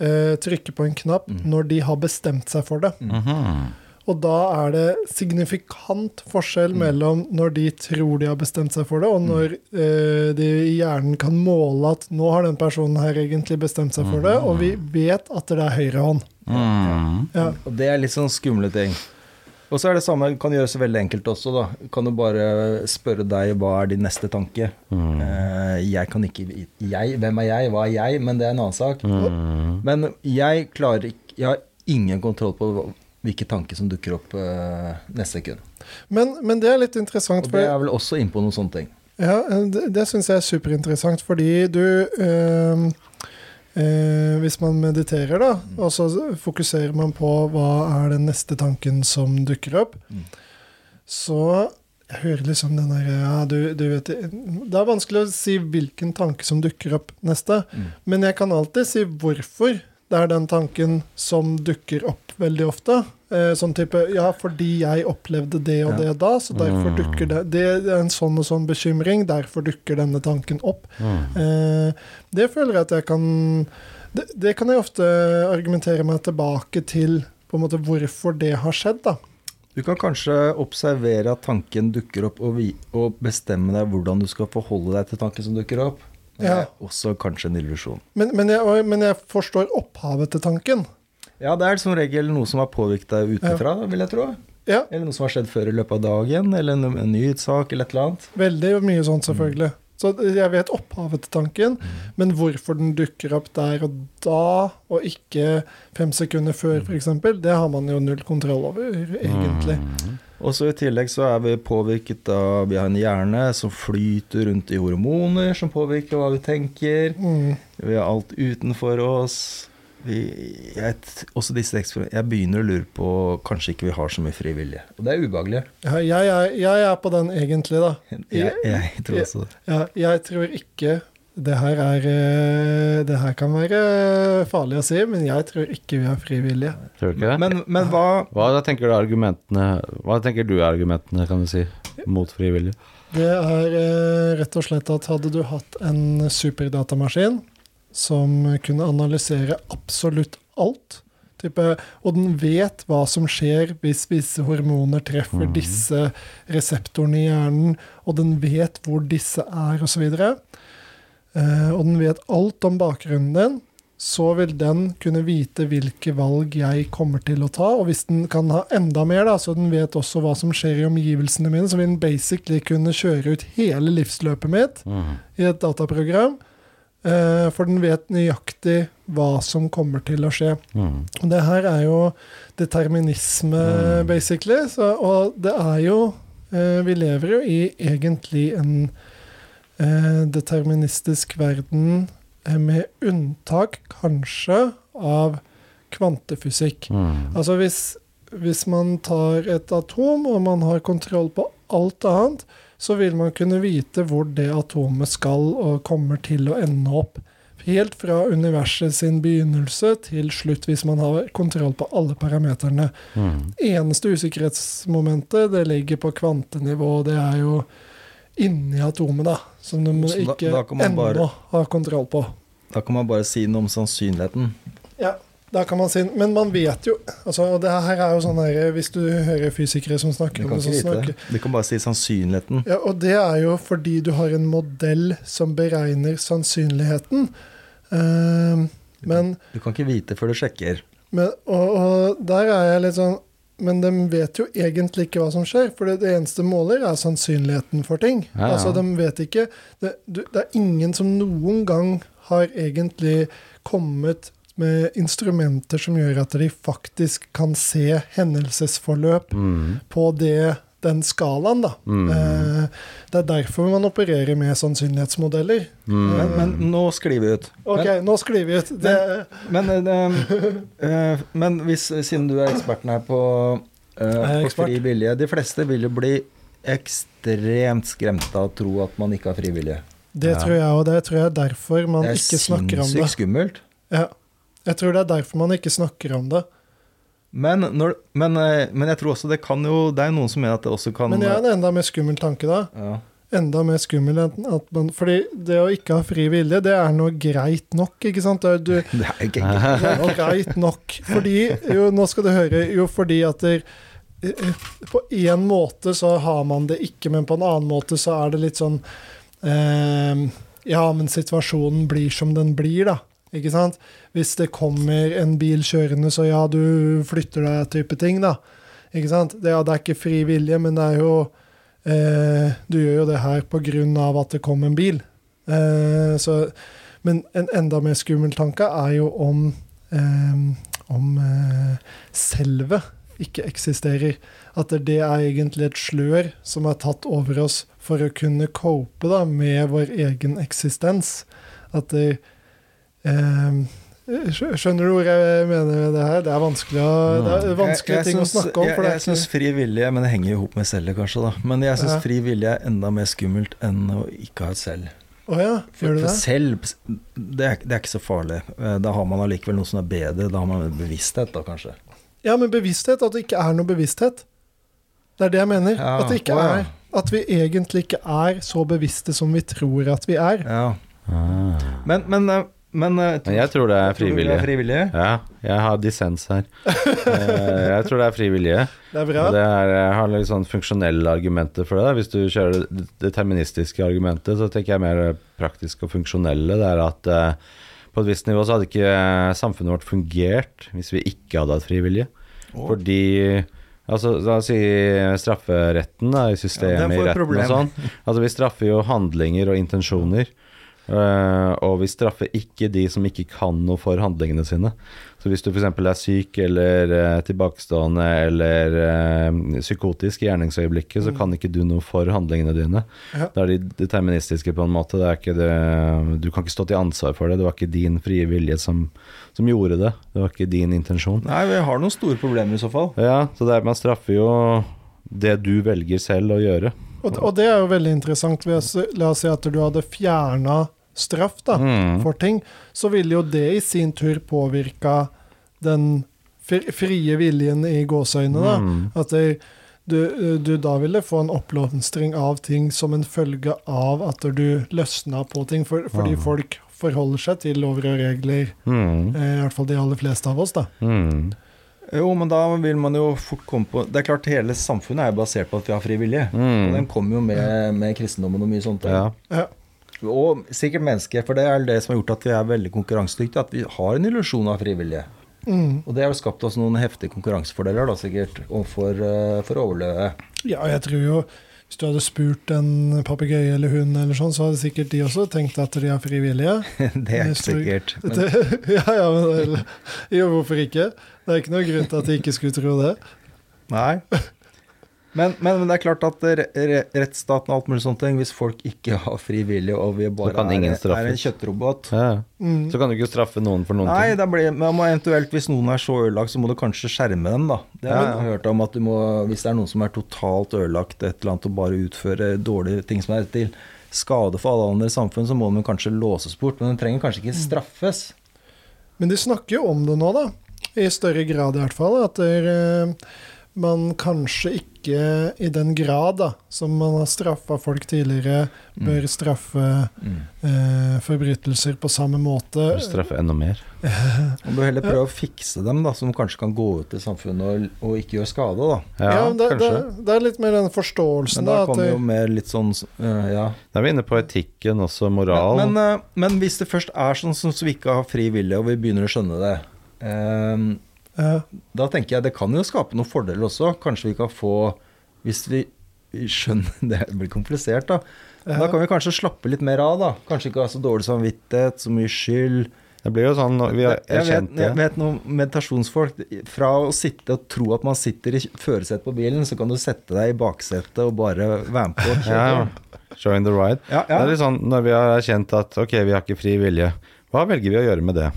B: eh, trykke på en knapp når de har bestemt seg for det.
D: Mhm.
B: Og da er det signifikant forskjell mellom når de tror de har bestemt seg for det, og når eh, de i hjernen kan måle at nå har den personen her egentlig bestemt seg for det, og vi vet at det er høyre hånd.
D: Mm.
B: Ja.
C: Og det er litt sånn skumle ting. Og så er det samme, kan gjøres veldig enkelt også, da. Kan du bare spørre deg hva er din neste tanke? Eh, jeg kan ikke vite jeg, Hvem er jeg? Hva er jeg? Men det er en annen sak.
D: Mm.
C: Men jeg klarer ikke Jeg har ingen kontroll på hva- hvilke tanker som dukker opp eh, neste sekund.
B: Men, men det er litt interessant,
C: Og
B: for
C: det er vel også innpå noen sånne ting.
B: ja, det, det syns jeg er superinteressant, fordi du eh, eh, Hvis man mediterer, da,
C: Mm.
B: og så fokuserer man på hva er den neste tanken som dukker opp,
C: Mm.
B: så jeg hører liksom den der ja, du, du vet, Det er vanskelig å si hvilken tanke som dukker opp neste,
C: Mm.
B: men jeg kan alltid si hvorfor det er den tanken som dukker opp veldig ofte. Eh, sånn type Ja, fordi jeg opplevde det og
C: Ja.
B: det da, så
D: Mm.
B: derfor dukker det Det er en sånn og sånn bekymring, derfor dukker denne tanken opp.
D: Mm.
B: Eh, det føler jeg at jeg kan det, det kan jeg ofte argumentere meg tilbake til, på en måte hvorfor det har skjedd, da.
C: Du kan kanskje observere at tanken dukker opp, og, vi, og bestemme deg hvordan du skal forholde deg til tanken som dukker opp. Det
B: Ja.
C: er også kanskje en illusjon.
B: Men, men, jeg, og- men jeg forstår opphavet til tanken.
C: Ja, det er som regel noe som har påvirket deg utenfra, vil jeg tro.
B: Ja,
C: Eller noe som har skjedd før i løpet av dagen, eller en, en nyhetssak, eller et eller annet.
B: veldig mye sånn, selvfølgelig. Så jeg vet opphavet til tanken, men hvorfor den dukker opp der og da, og ikke fem sekunder før, f.eks., det har man jo null kontroll over, egentlig.
C: Og så i tillegg så er vi påvirket av Vi har en hjerne som flyter rundt i hormoner, som påvirker hva vi tenker.
B: Mm.
C: Vi har alt utenfor oss. Vi, jeg, t- også disse eksper- Jeg begynner å lure på Kanskje ikke vi har så mye fri vilje. Og det er ubehagelig.
B: Ja, jeg, er- jeg er på den egentlig, da.
C: Jeg, jeg tror også det.
B: Ja, jeg tror ikke det her, er, eh, det her kan være farlig å si, men jeg tror ikke vi har frivillige.
D: Tror du ikke det?
C: Men, men hva
D: hva da tenker du er argumentene Hva tenker du er argumentene, kan du si, mot frivillig?
B: Det er eh, rett og slett at hadde du hatt en superdatamaskin som kunne analysere absolutt alt, type, og den vet hva som skjer hvis visse hormoner treffer disse reseptorene i hjernen, og den vet hvor disse er, osv., og, så videre, eh, og den vet alt om bakgrunnen din, så vil den kunne vite hvilke valg jeg kommer til å ta. Og hvis den kan ha enda mer, da, så den vet også hva som skjer i omgivelsene mine, så vil den basically kunne kjøre ut hele livsløpet mitt
D: Mhm.
B: i et dataprogram. eh, For den vet nøyaktig hva som kommer til å skje.
D: Mhm.
B: Og det her er jo determinisme,
D: Mm.
B: basically. Så, og det er jo eh, Vi lever jo i egentlig en eh, deterministisk verden, eh, med unntak kanskje av kvantefysikk.
D: Mhm.
B: Altså hvis, hvis man tar et atom og man har kontroll på alt annet, så vil man kunne vite hvor det atomet skal og kommer til å ende opp. Helt fra universet sin begynnelse til slutt, hvis man har kontroll på alle parameterne.
D: Mhm.
B: Eneste usikkerhetsmomentet det ligger på kvantenivå, og det er jo inni atomet, da. Som du
C: Så da-
B: ikke
C: da kan man
B: ennå
C: bare-
B: har kontroll på.
C: Da kan man bare si noe om sannsynligheten.
B: Ja, da kan man si Men man vet jo altså, Og det her er jo sånn her Hvis du hører fysikere som
C: Du
B: snakker om
C: kan
B: det,
C: ikke
B: så
C: vite det.
B: snakker
C: Du kan bare si sannsynligheten.
B: ja, Og det er jo fordi du har en modell som beregner sannsynligheten. Eh, men
C: Du kan ikke vite før du sjekker.
B: men og, og der er jeg litt sånn Men de vet jo egentlig ikke hva som skjer, for det, det eneste måler er sannsynligheten for ting.
D: Ja, ja.
B: Altså, de vet ikke det, du, det er ingen som noen gang har egentlig kommet med instrumenter som gjør at de faktisk kan se hendelsesforløp
D: Mhm.
B: på det, den skalaen, da.
C: Mm.
D: Mhm.
B: Eh, det er derfor man opererer med sannsynlighetsmodeller.
D: Mhm.
C: Men, men nå sklir vi ut.
B: Ok, nå sklir vi ut. Det,
C: Men, men, eh, eh, men hvis, siden du er eksperten her på, eh,
B: er
C: på
B: ekspert.
C: fri vilje De fleste vil jo bli ekstremt skremt av å tro at man ikke har fri vilje.
B: det tror jeg, og det tror jeg er derfor man
C: det er
B: ikke snakker om det.
C: sinnssykt skummelt.
B: Ja. Jeg tror det er derfor man ikke snakker om det.
C: Men, når, men, eh, men jeg tror også det kan jo Det er jo noen som mener at det også kan eh,
B: Men jeg har en enda mer skummel tanke, da.
C: ja. <laughs>
B: Enda mer skummel enn at man Fordi det å ikke ha fri vilje, det er noe greit nok, ikke sant? Det er- Du,
C: Det er jo ikke enkelt.
B: det er greit nok. Fordi Jo, nå skal du høre. Jo, fordi at det, eh, på én måte så har man det ikke, men på en annen måte så er det litt sånn eh, Ja, men situasjonen blir som den blir, da. Ikke sant? Hvis det kommer en bil kjørende, så ja, du flytter deg, type ting, da. Ikke sant? Det, ja, det er ikke fri vilje, men det er jo eh, Du gjør jo det her på grunn av at det kom en bil. Eh, så men en enda mer skummel tanke er jo om, eh, om eh, selve ikke eksisterer. At det er egentlig et slør som er tatt over oss for å kunne cope da, med vår egen eksistens. At det eh, skjø- Skjønner du hvor jeg mener med det her? Det er vanskelig, å, det er vanskelige
C: Jeg- jeg
B: ting
C: syns-
B: å snakke om. For
C: Jeg,
B: det
C: jeg
B: er
C: syns
B: ikke,
C: fri vilje Men det henger jo i hop med cellet, kanskje. da Men jeg syns
B: Ja.
C: fri vilje er enda mer skummelt enn å ikke ha et selv.
B: å ja,
C: For,
B: gjør du
C: for
B: det?
C: selv det er, det er ikke så farlig. Eh, Da har man allikevel noe som er bedre. Da har man en bevissthet, da kanskje.
B: Ja, men bevissthet. At det ikke er noe bevissthet. Det er det jeg mener.
C: Ja,
B: At, det ikke
C: å ja.
B: er, at vi egentlig ikke er så bevisste som vi tror at vi er.
C: Ja.
D: Ah.
C: Men, men, eh, men, eh,
D: Men jeg tror det er
C: tror du det er
D: frivillig.
C: frivillig?
D: Ja, jeg har dissens her. Eh, Jeg tror det er frivillige.
B: Det er bra.
D: Og Det er, jeg har litt sånn funksjonelle argumenter for det. da. Hvis du kjører det deterministiske argumentet, så tenker jeg mer praktisk og funksjonelle. Det er at eh, på et visst nivå så hadde ikke eh, samfunnet vårt fungert hvis vi ikke hadde hatt frivillige. Fordi altså, La oss si strafferetten da, i systemet
C: Ja, den får
D: i
C: et
D: retten
C: problem.
D: og sånn. Altså Vi straffer jo handlinger og intensjoner. eh, og vi straffer ikke de som ikke kan noe for handlingene sine. Så hvis du f.eks. er syk eller eh, tilbakestående eller eh, psykotisk i gjerningsøyeblikket,
C: Mm.
D: så kan ikke du noe for handlingene dine.
B: Ja.
D: Da er de deterministiske på en måte. Det er ikke det, du kan ikke stå til ansvar for det. Det var ikke din frie vilje som, som gjorde det. Det var ikke din intensjon.
C: Nei, vi har noen store problemer i så fall.
D: Ja, så det er, man straffer jo det du velger selv å gjøre.
B: Og, og det er jo veldig interessant. ved å se- La oss si at du hadde fjerna straff da,
D: Mm.
B: for ting, så ville jo det i sin tur påvirka den fri- frie viljen i gåseøynene. da.
D: Mm.
B: At det, du, du da ville få en oppblomstring av ting som en følge av at du løsna på ting, for, fordi
D: Ah.
B: folk forholder seg til lover og regler,
D: Mm.
B: eh, i hvert fall de aller fleste av oss, da.
D: Mm.
C: Jo, men da vil man jo fort komme på Det er klart hele samfunnet er jo basert på at vi har frivillige. Og
D: Mm.
C: den kommer jo med, med kristendommen og mye sånt.
D: Ja.
B: Ja.
C: Og sikkert mennesker, for det er det som har gjort at vi er veldig konkurransedyktige. At vi har en illusjon av frivillige.
B: mm,
C: Og det har jo skapt oss noen heftige konkurransefordeler, da, sikkert, og for, eh, for å overleve.
B: Ja, jeg tror jo hvis du hadde spurt en papegøye eller hund, eller sånn, så hadde sikkert de også tenkt at de er frivillige.
C: <laughs> det er ikke
B: så-
C: sikkert. Men,
B: Det, <laughs> ja, ja, men det, jo, hvorfor ikke? Det er ikke noen grunn til at de ikke skulle tro det.
C: nei. Men, men, men det er klart at re, re, rettsstaten og alt mulig sånne ting, hvis folk ikke <laughs> har frivillige, og vi bare
D: Så kan
C: er,
D: ingen straffes.
C: er en kjøttrobot
D: Ja.
B: Mm.
D: Så kan du ikke straffe noen for noen
C: Nei,
D: ting.
C: da blir, men må eventuelt hvis noen er så ødelagt, så må du kanskje skjerme dem, da. Det har
D: Ja, ja.
C: jeg hørt om at du må, hvis det er noen som er totalt ødelagt et eller annet og bare utfører dårlige ting som er til skade for alle andre i samfunnet, så må de kanskje låses bort, men de trenger kanskje
D: Mm.
C: ikke straffes.
B: Men de snakker jo om det nå, da. I større grad i hvert fall. At der, eh, man kanskje ikke i den grad da, som man har straffa folk tidligere,
C: Mm.
B: bør straffe eh, forbrytelser på samme måte.
D: Du straffer enda mer.
C: Man bør heller prøve å fikse dem, da, så de kanskje kan gå ut i samfunnet og, og ikke gjøre skade, da.
D: Ja,
B: men det, det,
D: kanskje.
B: det er litt mer den forståelsen,
C: Men da
B: da. At
C: kommer
B: det,
C: jo mer litt sånn eh, Ja.
D: Da er vi inne på etikken, også moral.
C: Men, men, eh, men hvis det først er sånn som vi ikke har fri vilje, og vi begynner å skjønne det eh,
B: ja.
C: Da tenker jeg det kan jo skape noen fordeler også. Kanskje vi kan få Hvis vi vi skjønner <laughs> Det blir komplisert, da. Men Da kan vi kanskje slappe litt mer av, da. Kanskje ikke ha så dårlig samvittighet, så mye skyld.
D: det blir jo sånn når Vi har
C: jeg, vet,
D: erkjent
C: jeg
D: det.
C: vet noen meditasjonsfolk Fra å sitte og tro at man sitter i førersetet på bilen, så kan du sette deg i baksetet og bare være med på. å
D: Ja,
C: kjøre.
D: ja. Showing the ride.
C: Ja, ja.
D: Det er litt sånn når vi har erkjent at ok, vi har ikke fri vilje, hva velger vi å gjøre med det?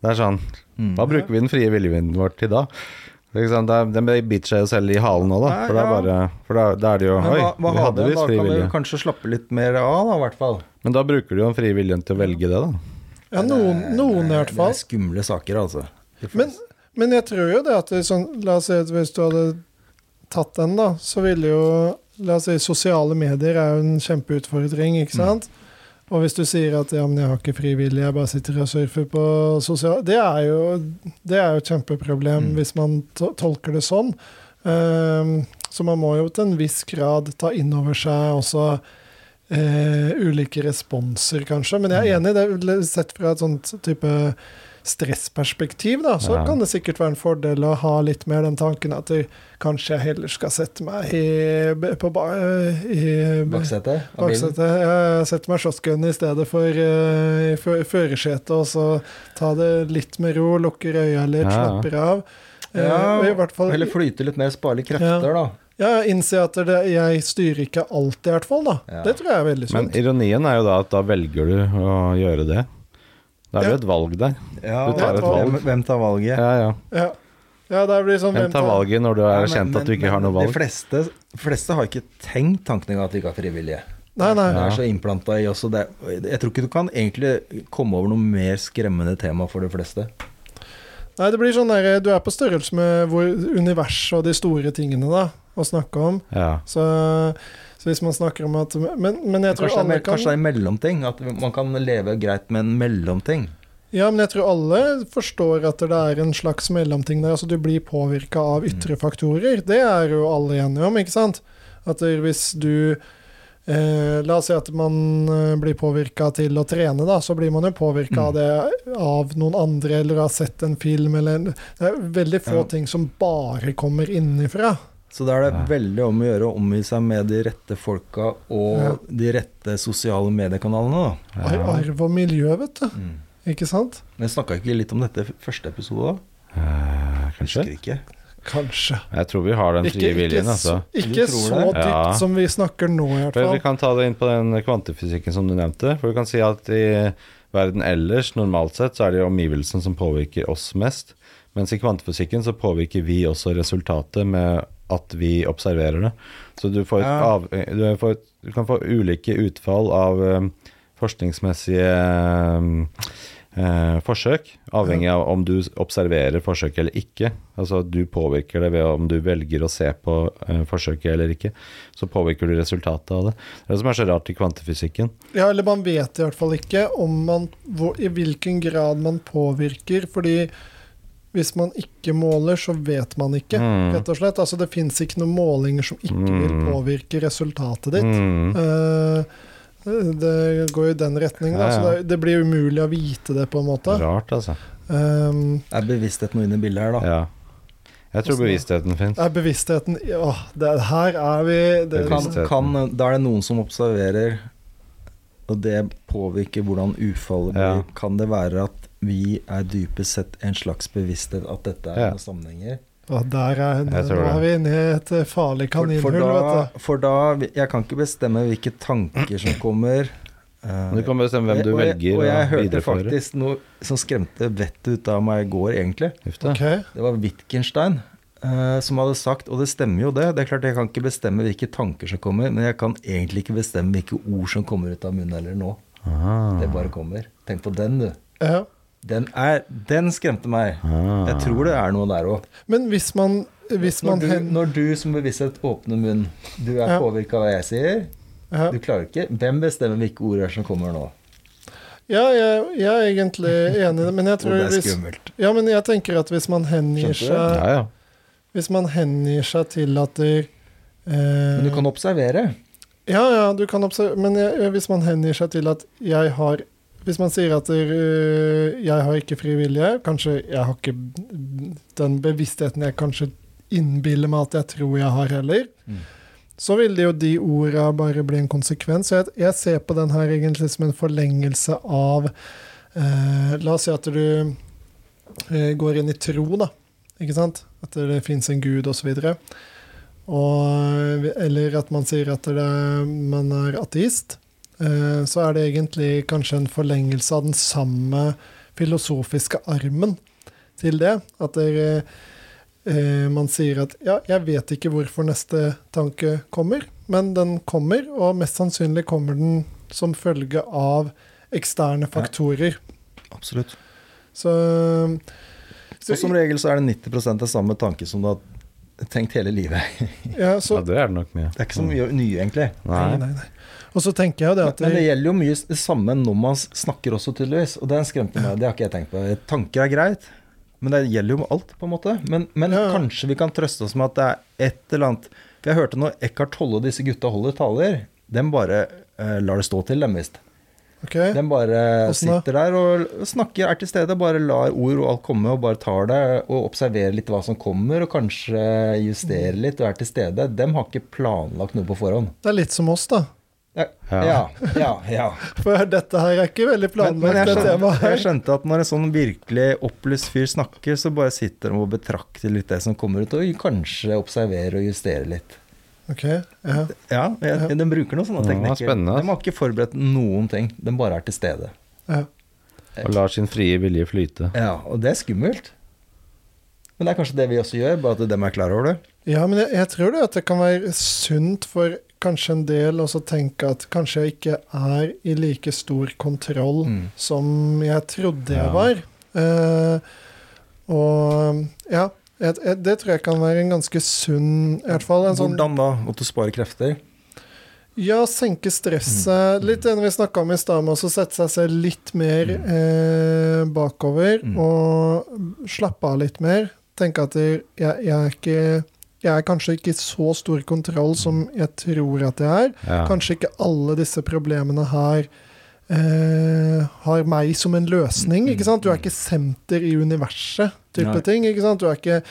D: Det er sånn
C: Mm.
D: Hva bruker vi den frie viljen vår til da? Det er ikke sant, det er- Den biter seg jo selv i halen nå, da.
C: Nei,
D: For da,
C: ja.
D: bare, for da, da er det jo
C: Men
D: Oi,
C: hva, hva
D: vi hadde
C: hadde vi?
D: visst
C: Da
D: fri
C: kan vi
D: vilje.
C: kanskje slappe litt mer av, da, i hvert fall.
D: Men da bruker du jo den frie viljen til å velge det, da.
B: ja, noen, noen i hvert
C: Det
B: fall.
C: er skumle saker, altså. Det
B: Men, men jeg tror jo det at det, er sånn, La oss si at hvis du hadde tatt den, da, så ville jo La oss si sosiale medier er jo en kjempeutfordring, ikke
C: Mm.
B: sant? Og hvis du sier at ja, men jeg har ikke frivillig, jeg bare sitter og surfer på sosiale Det er jo, det er jo et kjempeproblem
C: Mm.
B: hvis man to tolker det sånn. Ehm, så man må jo til en viss grad ta inn over seg også eh, ulike responser, kanskje. Men
C: Mm.
B: jeg er enig, i det sett fra et sånt type stressperspektiv, da, så
D: Ja.
B: kan det sikkert være en fordel å ha litt mer den tanken at det, kanskje jeg heller skal sette meg i, på ba, i
C: Baksetet? av bilen.
B: baksetet. Jeg setter meg shotgun i stedet for eh, i fø- førersetet, og så ta det litt med ro, lukker øya litt,
D: Ja.
B: slapper av. Eh,
C: Ja,
B: og i hvert fall,
C: Eller flyte litt mer, spare litt krefter, da.
B: ja, innse at det, jeg styrer ikke alt, i hvert fall. da.
C: Ja.
B: Det tror jeg er veldig
D: Men
B: sunt.
D: ironien er jo da at da velger du å gjøre det. Da er det jo et valg der.
C: Ja,
D: Du tar
B: et
C: hvem-
D: valg.
C: Hvem tar valget?
D: Ja, ja.
B: Ja. ja, der blir det sånn
D: Hvem tar valget når du
C: Ja,
D: har
C: men-
D: erkjent at du
C: men-
D: ikke har noe
C: men De
D: valg?
C: fleste, fleste har ikke tenkt tanken engang at de ikke har frivillige.
B: Nei, nei.
C: Det er så innplanta i oss. og det er- Jeg tror ikke du kan egentlig komme over noe mer skremmende tema for de fleste.
B: Nei, det blir sånn der, Du er på størrelse med hvor universet og de store tingene da, å snakke om.
D: Ja.
B: Så, så hvis man snakker om at Men, men jeg tror
C: Kanskje det, er,
B: alle
C: mer-
B: kan
C: kanskje det er en mellomting? At man kan leve greit med en mellomting?
B: Ja, men jeg tror alle forstår at det er en slags mellomting der. Altså du blir påvirka av
C: Mm.
B: ytre faktorer. Det er jo alle enige om, ikke sant? At det- hvis du eh, La oss si at man eh, blir påvirka til å trene, da. Så blir man jo påvirka
C: Mm.
B: av det av noen andre, eller har sett en film, eller Det er veldig få
C: Ja.
B: ting som bare kommer innenfra.
C: Så da er det veldig om å gjøre å omgi seg med de rette folka og
B: Ja.
C: de rette sosiale mediekanalene, da.
B: Ar arv og miljø, vet du.
C: Mm.
B: Ikke sant?
C: Men snakka ikke vi litt om dette i første episode, da?
D: Eh, kanskje?
C: Husker ikke.
B: Kanskje.
D: Jeg tror vi har den frie viljen, altså.
B: så- ikke
C: Du tror
B: så
C: det?
B: dypt
D: Ja.
B: som vi snakker nå, i hvert
D: For vi
B: fall.
D: kan ta det inn på den kvantefysikken som du nevnte. For vi kan si at i verden ellers, normalt sett, så er det jo omgivelsen som påvirker oss mest. Mens i kvantefysikken så påvirker vi også resultatet med at vi observerer det. Så du, får et
C: Ja.
D: av, du, får et, du kan få ulike utfall av eh, forskningsmessige eh, forsøk, avhengig av om du observerer forsøket eller ikke. Altså at du påvirker det ved om du velger å se på eh, forsøket eller ikke. Så påvirker du resultatet av det. Det er det som er så rart i kvantefysikken.
B: Ja, eller man vet i hvert fall ikke om man, hvor, i hvilken grad man påvirker. Fordi hvis man ikke måler, så vet man ikke,
D: Mm.
B: rett og slett. Altså, det fins ikke noen målinger som ikke vil
D: Mm.
B: påvirke resultatet ditt.
D: Mm.
B: Eh, Det går jo i den
D: Ja,
B: retningen. da,
D: ja.
B: så det, det blir umulig å vite det, på en måte.
D: Rart, altså.
B: Ehm,
C: Er bevissthet noe inne i bildet her, da?
D: Ja. Jeg tror bevisstheten fins.
B: er bevisstheten Åh, det, her er vi det,
D: Bevisst.
C: Kan,
D: Bevisstheten.
C: kan, da er det noen som observerer, og det påvirker hvordan utfallet blir.
D: Ja.
C: Kan det være at vi er dypest sett en slags bevissthet at dette er
D: Ja.
C: noen sammenhenger?
B: Åh, Der er,
D: Jeg tror
B: nå
D: det.
B: er vi inne i et eh, farlig
C: For,
B: kaninhull,
C: for, da,
B: vet du.
C: for da Jeg kan ikke bestemme hvilke tanker som kommer. eh,
D: Du kan bestemme hvem du
C: og jeg,
D: velger
C: Og jeg
D: å
C: hørte
D: videreføre.
C: faktisk noe som skremte vettet ut av meg i går, egentlig.
D: Huff da.
B: Ok,
C: Det var Wittgenstein eh, som hadde sagt, og det stemmer jo det Det er klart jeg kan ikke bestemme hvilke tanker som kommer, men jeg kan egentlig ikke bestemme hvilke ord som kommer ut av munnen heller nå.
D: Ah.
C: Det bare kommer. Tenk på den, du.
B: ja.
C: Den, er, den skremte meg.
D: Ah.
C: Jeg tror det er noe der òg.
B: Men hvis man, hvis
C: Når,
B: man
C: du-
B: hen...
C: når du som bevissthet åpner munnen, du er
B: Ja.
C: påvirka av hva jeg sier.
B: Ja.
C: Du klarer ikke. Hvem bestemmer hvilke ord er som kommer nå?
B: Ja, jeg, jeg er egentlig enig i det, men jeg
C: Og
B: tror
C: det er
B: hvis,
C: skummelt.
B: ja, men jeg tenker at hvis man hengir
C: Skjønte du?
B: seg
D: Ja, ja.
B: Hvis man hengir seg til at det eh,
C: Men du kan observere.
B: Ja, ja, du kan observere Men jeg, eh, hvis man hengir seg til at jeg har Hvis man sier at eh, jeg har ikke fri vilje, kanskje jeg har ikke den bevisstheten jeg kanskje innbiller meg at jeg tror jeg har heller,
C: Mm.
B: så vil det jo de orda bare bli en konsekvens. Så jeg, jeg ser på den her egentlig som en forlengelse av eh, La oss si at du eh, går inn i tro, da. Ikke sant? At det fins en gud, osv. Og, eller at man sier at det, man er ateist, eh, så er det egentlig kanskje en forlengelse av den samme filosofiske armen til det. At det, eh, man sier at ja, jeg vet ikke hvorfor neste tanke kommer, men den kommer, og mest sannsynlig kommer den som følge av eksterne faktorer.
C: Absolutt.
B: Så, så,
C: Og som regel så er det 90 av samme tanke som du har tenkt hele livet. <laughs>
B: ja,
D: ja,
B: så
D: det er det nok mye. Mm.
C: Det er ikke så mye nye, egentlig.
B: Nei,
D: Nei.
B: nei, nei. Og så tenker jeg jo det
C: Men,
B: at
C: men det gjelder jo mye s- det samme når man s- snakker også, tydeligvis. Og den skremte meg. Det har ikke jeg tenkt på. Tanker er greit, men det gjelder jo med alt, på en måte. Men, men
B: Ja, ja.
C: kanskje vi kan trøste oss med at det er et eller annet For jeg hørte når Eckhart Tolle og disse gutta holder taler, dem bare eh, lar det stå til, dem visst.
B: Ok.
C: De bare
B: Åssen da?
C: sitter der og snakker, er til stede, bare lar ord og alt komme, og bare tar det, og observerer litt hva som kommer, og kanskje justerer
B: Mm.
C: litt, og er til stede. De har ikke planlagt noe på forhånd.
B: Det er litt som oss, da.
C: Ja,
D: Ja.
C: ja, ja. ja.
B: For dette her er ikke veldig
C: Men,
B: <laughs>
C: men
B: planlagt,
C: jeg,
B: det
C: skjønte,
B: temaet
C: jeg
B: her.
C: skjønte at når en sånn virkelig opplyst fyr snakker, så bare sitter de og betrakter litt det som kommer ut, og kanskje observerer og justerer litt.
B: Ok, ja.
C: Ja, jeg, de bruker noen sånne
D: Ja,
C: teknikker.
D: spennende.
C: De har ikke forberedt noen ting, de bare er til stede.
B: ja.
D: Og lar sin frie vilje flyte.
C: Ja, og det er skummelt. Men det er kanskje det vi også gjør, bare at de er klar over det.
B: ja, men jeg, jeg tror det at det kan være sunt for kanskje en del også tenke at kanskje jeg ikke er i like stor kontroll
C: Mm.
B: som jeg trodde jeg
D: Ja.
B: var. Eh, og ja, jeg, jeg, det tror jeg kan være en ganske sunn I hvert fall en sånn
C: Hvordan da? Måtte du spare krefter?
B: Ja, senke
C: Mm.
B: stresset. Litt det vi snakka om i stad, med å sette seg selv litt mer eh, bakover
C: Mm.
B: og slappe av litt mer. Tenke at jeg, jeg er ikke jeg er kanskje ikke i så stor kontroll som jeg tror at jeg er.
D: Ja.
B: Kanskje ikke alle disse problemene her eh, har meg som en løsning. ikke sant? Du er ikke senter i universet, type
C: Mm, Nei.
B: ting. ikke sant? Du er ikke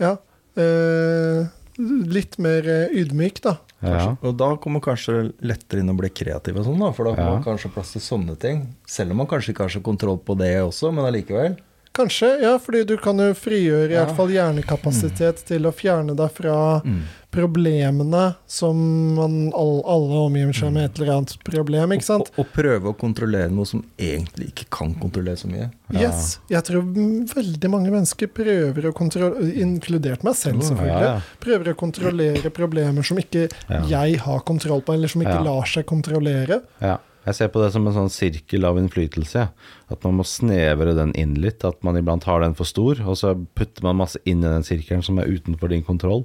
B: Ja. Eh, litt mer eh, ydmyk, da.
D: Ja.
C: Kanskje. Og da kommer kanskje lettere inn å bli kreativ og sånn, da. For da får
D: Ja.
C: man kanskje plass til sånne ting. Selv om man kanskje ikke har så kontroll på det også, men allikevel.
B: Kanskje, ja, fordi du kan jo frigjøre i
C: Ja.
B: hvert fall hjernekapasitet
D: Mm.
B: til å fjerne deg fra
C: Mm.
B: problemene som man all, alle omgir seg med et eller annet problem, ikke sant?
C: Og, og prøve å kontrollere noe som egentlig ikke kan kontrollere så mye.
D: Ja.
B: Yes. Jeg tror m- veldig mange mennesker prøver å kontrollere, inkludert meg selv selvfølgelig,
D: Mm, Ja, ja.
B: prøver å kontrollere problemer som ikke
D: Ja.
B: jeg har kontroll på, eller som
D: Ja.
B: ikke lar seg kontrollere.
D: Ja. Jeg ser på det som en sånn sirkel av innflytelse. ja. At man må snevre den inn litt. At man iblant har den for stor, og så putter man masse inn i den sirkelen som er utenfor din kontroll.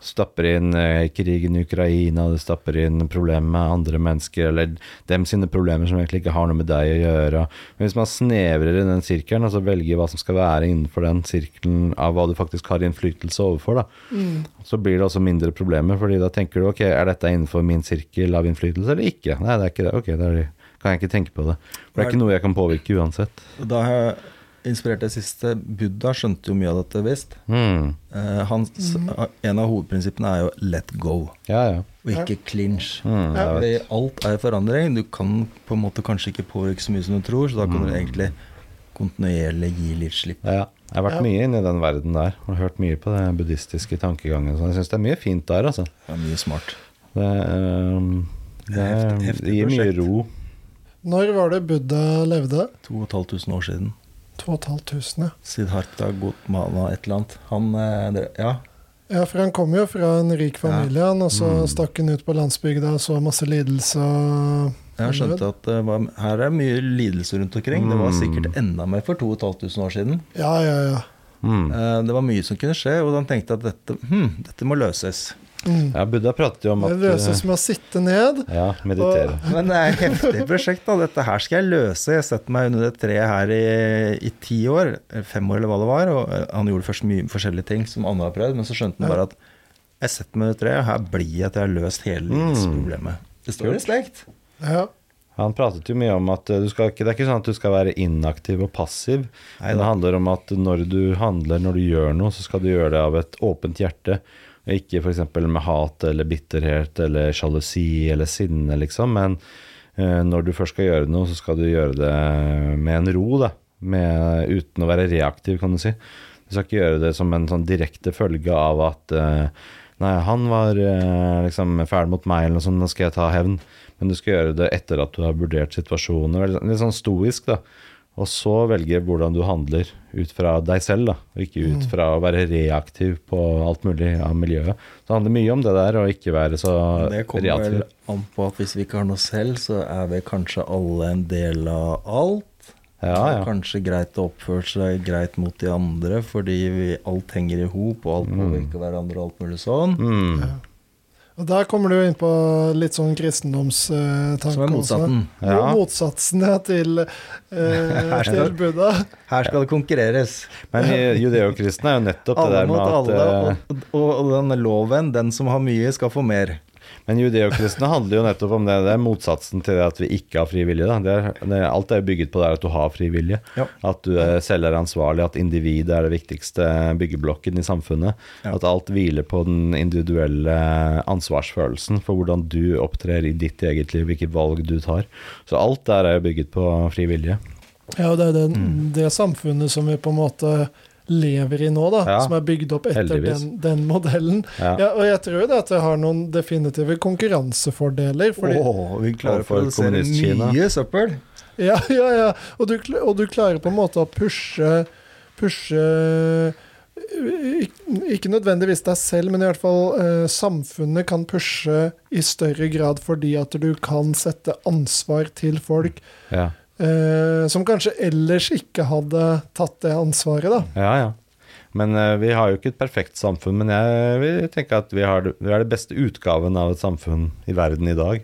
D: Stapper inn eh, krigen i Ukraina, du stapper inn problemer med andre mennesker, eller dem sine problemer som egentlig ikke har noe med deg å gjøre. Men hvis man snevrer inn den sirkelen, og så velger hva som skal være innenfor den sirkelen av hva du faktisk har innflytelse overfor, da, så blir det også mindre problemer, fordi da tenker du ok, er dette innenfor min sirkel av innflytelse eller ikke? Nei, det er ikke det. Ok, da er det- kan jeg ikke tenke på det. For det er ikke noe jeg kan påvirke uansett.
C: Da har jeg inspirert det siste. Buddha skjønte jo mye av dette, visst.
D: Hmm.
C: Eh, hans,
B: Mm.
C: En av hovedprinsippene er jo 'let go',
D: Ja, ja.
C: og ikke clinch.
D: Hmm, jeg
B: Ja.
C: Fordi
D: vet.
C: alt er i forandring. Du kan på en måte kanskje ikke påvirke så mye som du tror, så da kan du
D: Mm.
C: egentlig kontinuerlig gi litt slipp.
D: Ja, ja. Jeg har vært mye inne i den verden der og hørt mye på den buddhistiske tankegangen. Så jeg syns det er mye fint der, altså.
C: Det er mye smart.
D: Det, ehm, det, er-
C: Heftig- heftig
D: det gir mye
C: prosjekt.
D: ro.
B: Når var det Buddha levde?
C: 2500 år siden.
B: 2500, ja.
C: Siddhartha Gotmana et eller annet. Han eh, det- Ja.
B: Ja, for han kom jo fra en rik familie, han, og så stakk han ut på landsbygda og så masse lidelse og
C: Jeg skjønte at det var, her er mye lidelse rundt omkring. Det var
D: Mm.
C: sikkert enda mer for 2500 år siden.
B: Ja, ja, ja.
D: Hmm.
C: Eh, Det var mye som kunne skje, og han tenkte at dette, hm, dette må løses.
B: Mm.
D: Ja, Buddha prater jo om at
B: Det løses
D: eh,
B: med å sitte ned.
D: Ja, meditere.
C: Men det er et heftig prosjekt. da, Dette her skal jeg løse. Jeg setter meg under det treet her i, i ti år, eller fem år eller hva det var. Og eh, han gjorde først mye forskjellige ting som andre har prøvd, men så skjønte han bare at jeg setter meg under det treet, og her blir jeg til jeg har løst hele livsproblemet. Mm. Det står i slekt.
B: Ja.
D: Han pratet jo mye om at eh, du skal ikke, det er ikke sånn at du skal være inaktiv og passiv.
C: Nei
D: men
C: da.
D: det handler om at når du handler, når du gjør noe, så skal du gjøre det av et åpent hjerte. Og ikke f.eks. med hat eller bitterhet eller sjalusi eller sinne, liksom. Men eh, når du først skal gjøre noe, så skal du gjøre det med en ro, da. Med, uten å være reaktiv, kan du si. Du skal ikke gjøre det som en sånn direkte følge av at eh, Nei, han var eh, liksom fæl mot meg, eller noe sånt, nå skal jeg ta hevn. Men du skal gjøre det etter at du har vurdert situasjonen. Veldig sånn- Litt sånn stoisk, da. Og så velge hvordan du handler ut fra deg selv, da. Og ikke ut
C: Mm.
D: fra å være reaktiv på alt mulig av miljøet. Så det handler mye om det der, å ikke være så
C: Det kommer
D: reaktiv.
C: vel an på at hvis vi ikke har noe selv, så er vi kanskje alle en del av alt.
D: Ja,
C: Det er
D: ja.
C: Kanskje greit å oppføre seg greit mot de andre, fordi vi, alt henger i hop, og alt påvirker hverandre og alt mulig sånn.
D: Mm.
B: Og der kommer du jo inn på litt sånn kristendomstanke.
C: Som er motsatsen.
B: Ja. Jo,
D: Ja.
B: motsatsene til, eh, til Buddha.
C: Her skal det konkurreres.
D: Men i- judeokristne er jo nettopp det
C: Alle
D: der med
C: mot
D: at
C: alle,
D: eh,
C: og, og, og denne loven, den som har mye, skal få mer.
D: Men judeokristne handler jo nettopp om det. Det er motsatsen til det at vi ikke har fri vilje. Da. Det er, det, alt er jo bygget på det at du har fri vilje.
C: Ja.
D: At du eh, selv er ansvarlig, at individet er det viktigste byggeblokken i samfunnet.
C: Ja.
D: At alt hviler på den individuelle ansvarsfølelsen for hvordan du opptrer i ditt eget liv, hvilke valg du tar. Så alt der er jo bygget på fri vilje.
B: Ja, og det er det, det samfunnet som vi på en måte lever i nå, da,
D: Ja,
B: som er bygd opp etter
D: heldigvis.
B: den, den modellen.
D: Ja.
B: Ja, og jeg tror jo det at det har noen definitive konkurransefordeler. Fordi,
C: Åh, vi klarer å
D: Overfor
C: produsere
D: kommunist-Kina.
C: mye søppel.
B: Ja, ja, ja. Og du, kl- og du klarer på en måte å pushe, pushe eh, ik- ikke nødvendigvis deg selv, men i hvert fall eh, samfunnet kan pushe i større grad fordi at du kan sette ansvar til folk
D: Ja,
B: eh, som kanskje ellers ikke hadde tatt det ansvaret, da.
D: ja. ja. Men eh, vi har jo ikke et perfekt samfunn, men jeg vil tenke at vi, har, det- vi er det beste utgaven av et samfunn i verden i dag.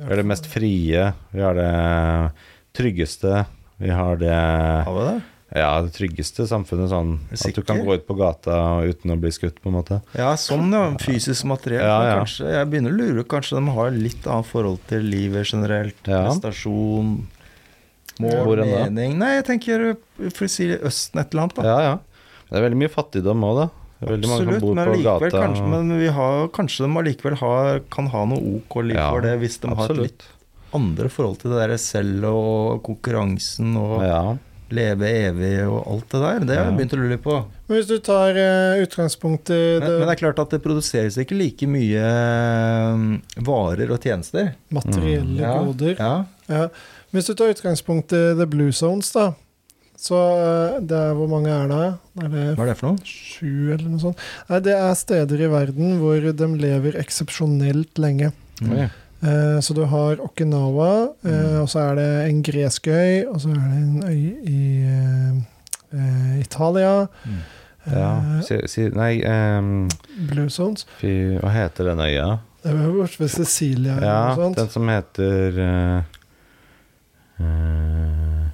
D: Vi er det mest frie, vi har det tryggeste, vi har det
C: Har vi det?
D: ja, det tryggeste samfunnet sånn at du
C: Sikker?
D: kan gå ut på gata uten å bli skutt, på en måte.
C: Ja, sånn ja. Fysisk materiell.
D: Ja,
C: men
D: ja.
C: Kanskje, jeg begynner å lure. Kanskje de har litt annet forhold til livet generelt.
D: Ja.
C: Prestasjon, mål,
D: Hvor enn da?
C: mening Nei, jeg tenker for å si Østen et eller annet, da.
D: Ja, ja. Det er veldig mye fattigdom òg, da. Det er Veldig mange
C: Absolutt,
D: som bor
C: men,
D: på
C: likevel,
D: gata.
C: kanskje,
D: og-
C: men vi har, kanskje de allikevel har, kan ha noe ok liv
D: Ja,
C: for det, hvis de har et
D: Absolutt.
C: litt andre forhold til det der selv og konkurransen og
D: Ja.
C: leve evig og alt det der. Det har jeg
D: Ja.
C: begynt å lure på.
B: Men hvis du tar eh, utgangspunkt i
C: Men,
B: det
C: men det er klart at det produseres ikke like mye mm, varer og tjenester.
B: materielle
C: Mm, Ja,
B: goder
C: Ja.
B: ja. Hvis du tar utgangspunkt i The Blue Zones, da, så eh, det er Hvor mange er det? Er det
C: Hva er det for noe?
B: sju, eller
C: Mm.
B: noe sånt? Nei, det er steder i verden hvor de lever eksepsjonelt lenge.
D: Oi.
B: Eh, Så du har Okinawa, eh,
D: Mm.
B: og så er det en gresk øy, og så er det en øy i eh, eh, Italia.
D: Ja.
B: Eh,
D: Si, si, nei ehm,
B: Blue Zones.
D: fy, Hva heter den øya?
B: Det er jo borte ved Cecilia
D: Ja,
B: eller Eh, noe
D: den
B: sånt.
D: som heter eh, eh,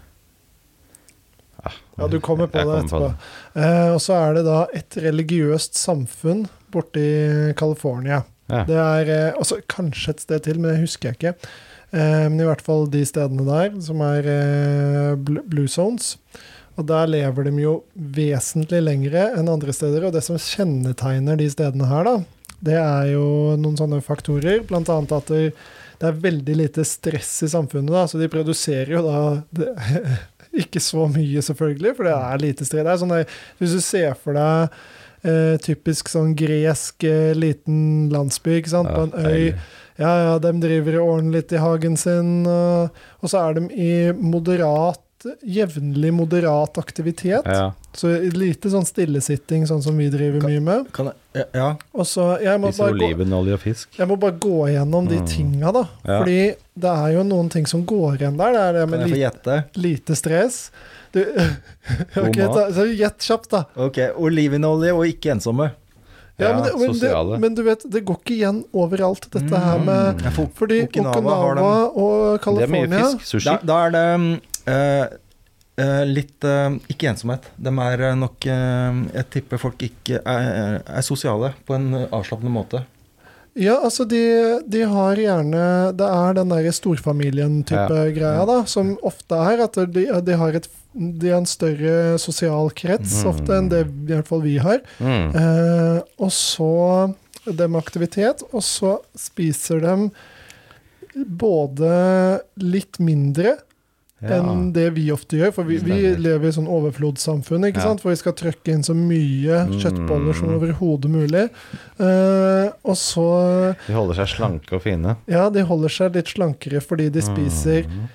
D: ah,
B: Ja, du kommer på
D: jeg
B: det
D: kommer på
B: etterpå. Eh, Og så er det da et religiøst samfunn borte i California.
D: Ja.
B: Det er eh, altså, kanskje et sted til, men det husker jeg ikke. Eh, Men i hvert fall de stedene der, som er eh, bl- blue zones. Og der lever de jo vesentlig lengre enn andre steder. Og det som kjennetegner de stedene her, da, det er jo noen sånne faktorer. Blant annet at det det er veldig lite stress i samfunnet, da, så de produserer jo da det, <laughs> Ikke så mye, selvfølgelig, for det er lite stress. Det er sånn der, hvis du ser for deg eh, typisk sånn gresk eh, liten landsby ikke
D: Ja,
B: sant? på en øy
D: deilig.
B: ja, ja, de driver og ordner litt i hagen sin. Og, og så er de i moderat Jevnlig moderat aktivitet.
D: Ja,
B: Så lite sånn stillesitting, sånn som vi driver
C: Ka-
B: mye med.
C: Kan jeg, ja,
B: Og så jeg må,
D: Spiser
B: bare gå,
D: olivenolje og fisk.
B: jeg må bare gå gjennom de
D: Mm.
B: tinga, da.
D: Ja.
B: Fordi det er jo noen ting som går igjen der. Det er det
C: kan
B: med
C: jeg få
B: lite,
C: gjette?
B: lite stress. Du, <laughs> ok,
D: mat.
B: ta- så Gjett kjapt, da.
C: Ok, Olivenolje og ikke ensomme.
B: Ja,
D: Ja,
B: men, det, men, det,
D: sosiale. Mm.
B: men du vet, det går ikke igjen overalt, dette
C: Mm.
B: her med
C: Ja, for-
B: Fordi
C: Okinawa
B: Okinawa,
C: har dem.
B: og
D: Det er mye
B: California
D: fisk. Sushi.
C: Da, da er det mm, eh, eh, litt eh, ikke ensomhet. De er eh, nok eh, Jeg tipper folk ikke er, er sosiale på en eh, avslappende måte.
B: Ja, altså de, de har gjerne Det er den der storfamilien-type greia, da, som ofte er at de, de har et de har en større sosial krets
D: Mm.
B: ofte enn det i hvert fall vi har.
D: Mm.
B: Eh, og så det med aktivitet, og så spiser de både litt mindre
D: Ja.
B: enn det vi ofte gjør, for vi, vi
D: Stemmer.
B: lever i sånn overflodssamfunn, ikke
D: Ja.
B: sant? For vi skal trøkke inn så mye
D: Mm.
B: kjøttboller som overhodet mulig. Eh, og så
D: De holder seg slanke og fine.
B: ja, de holder seg litt slankere fordi de spiser
D: Mm.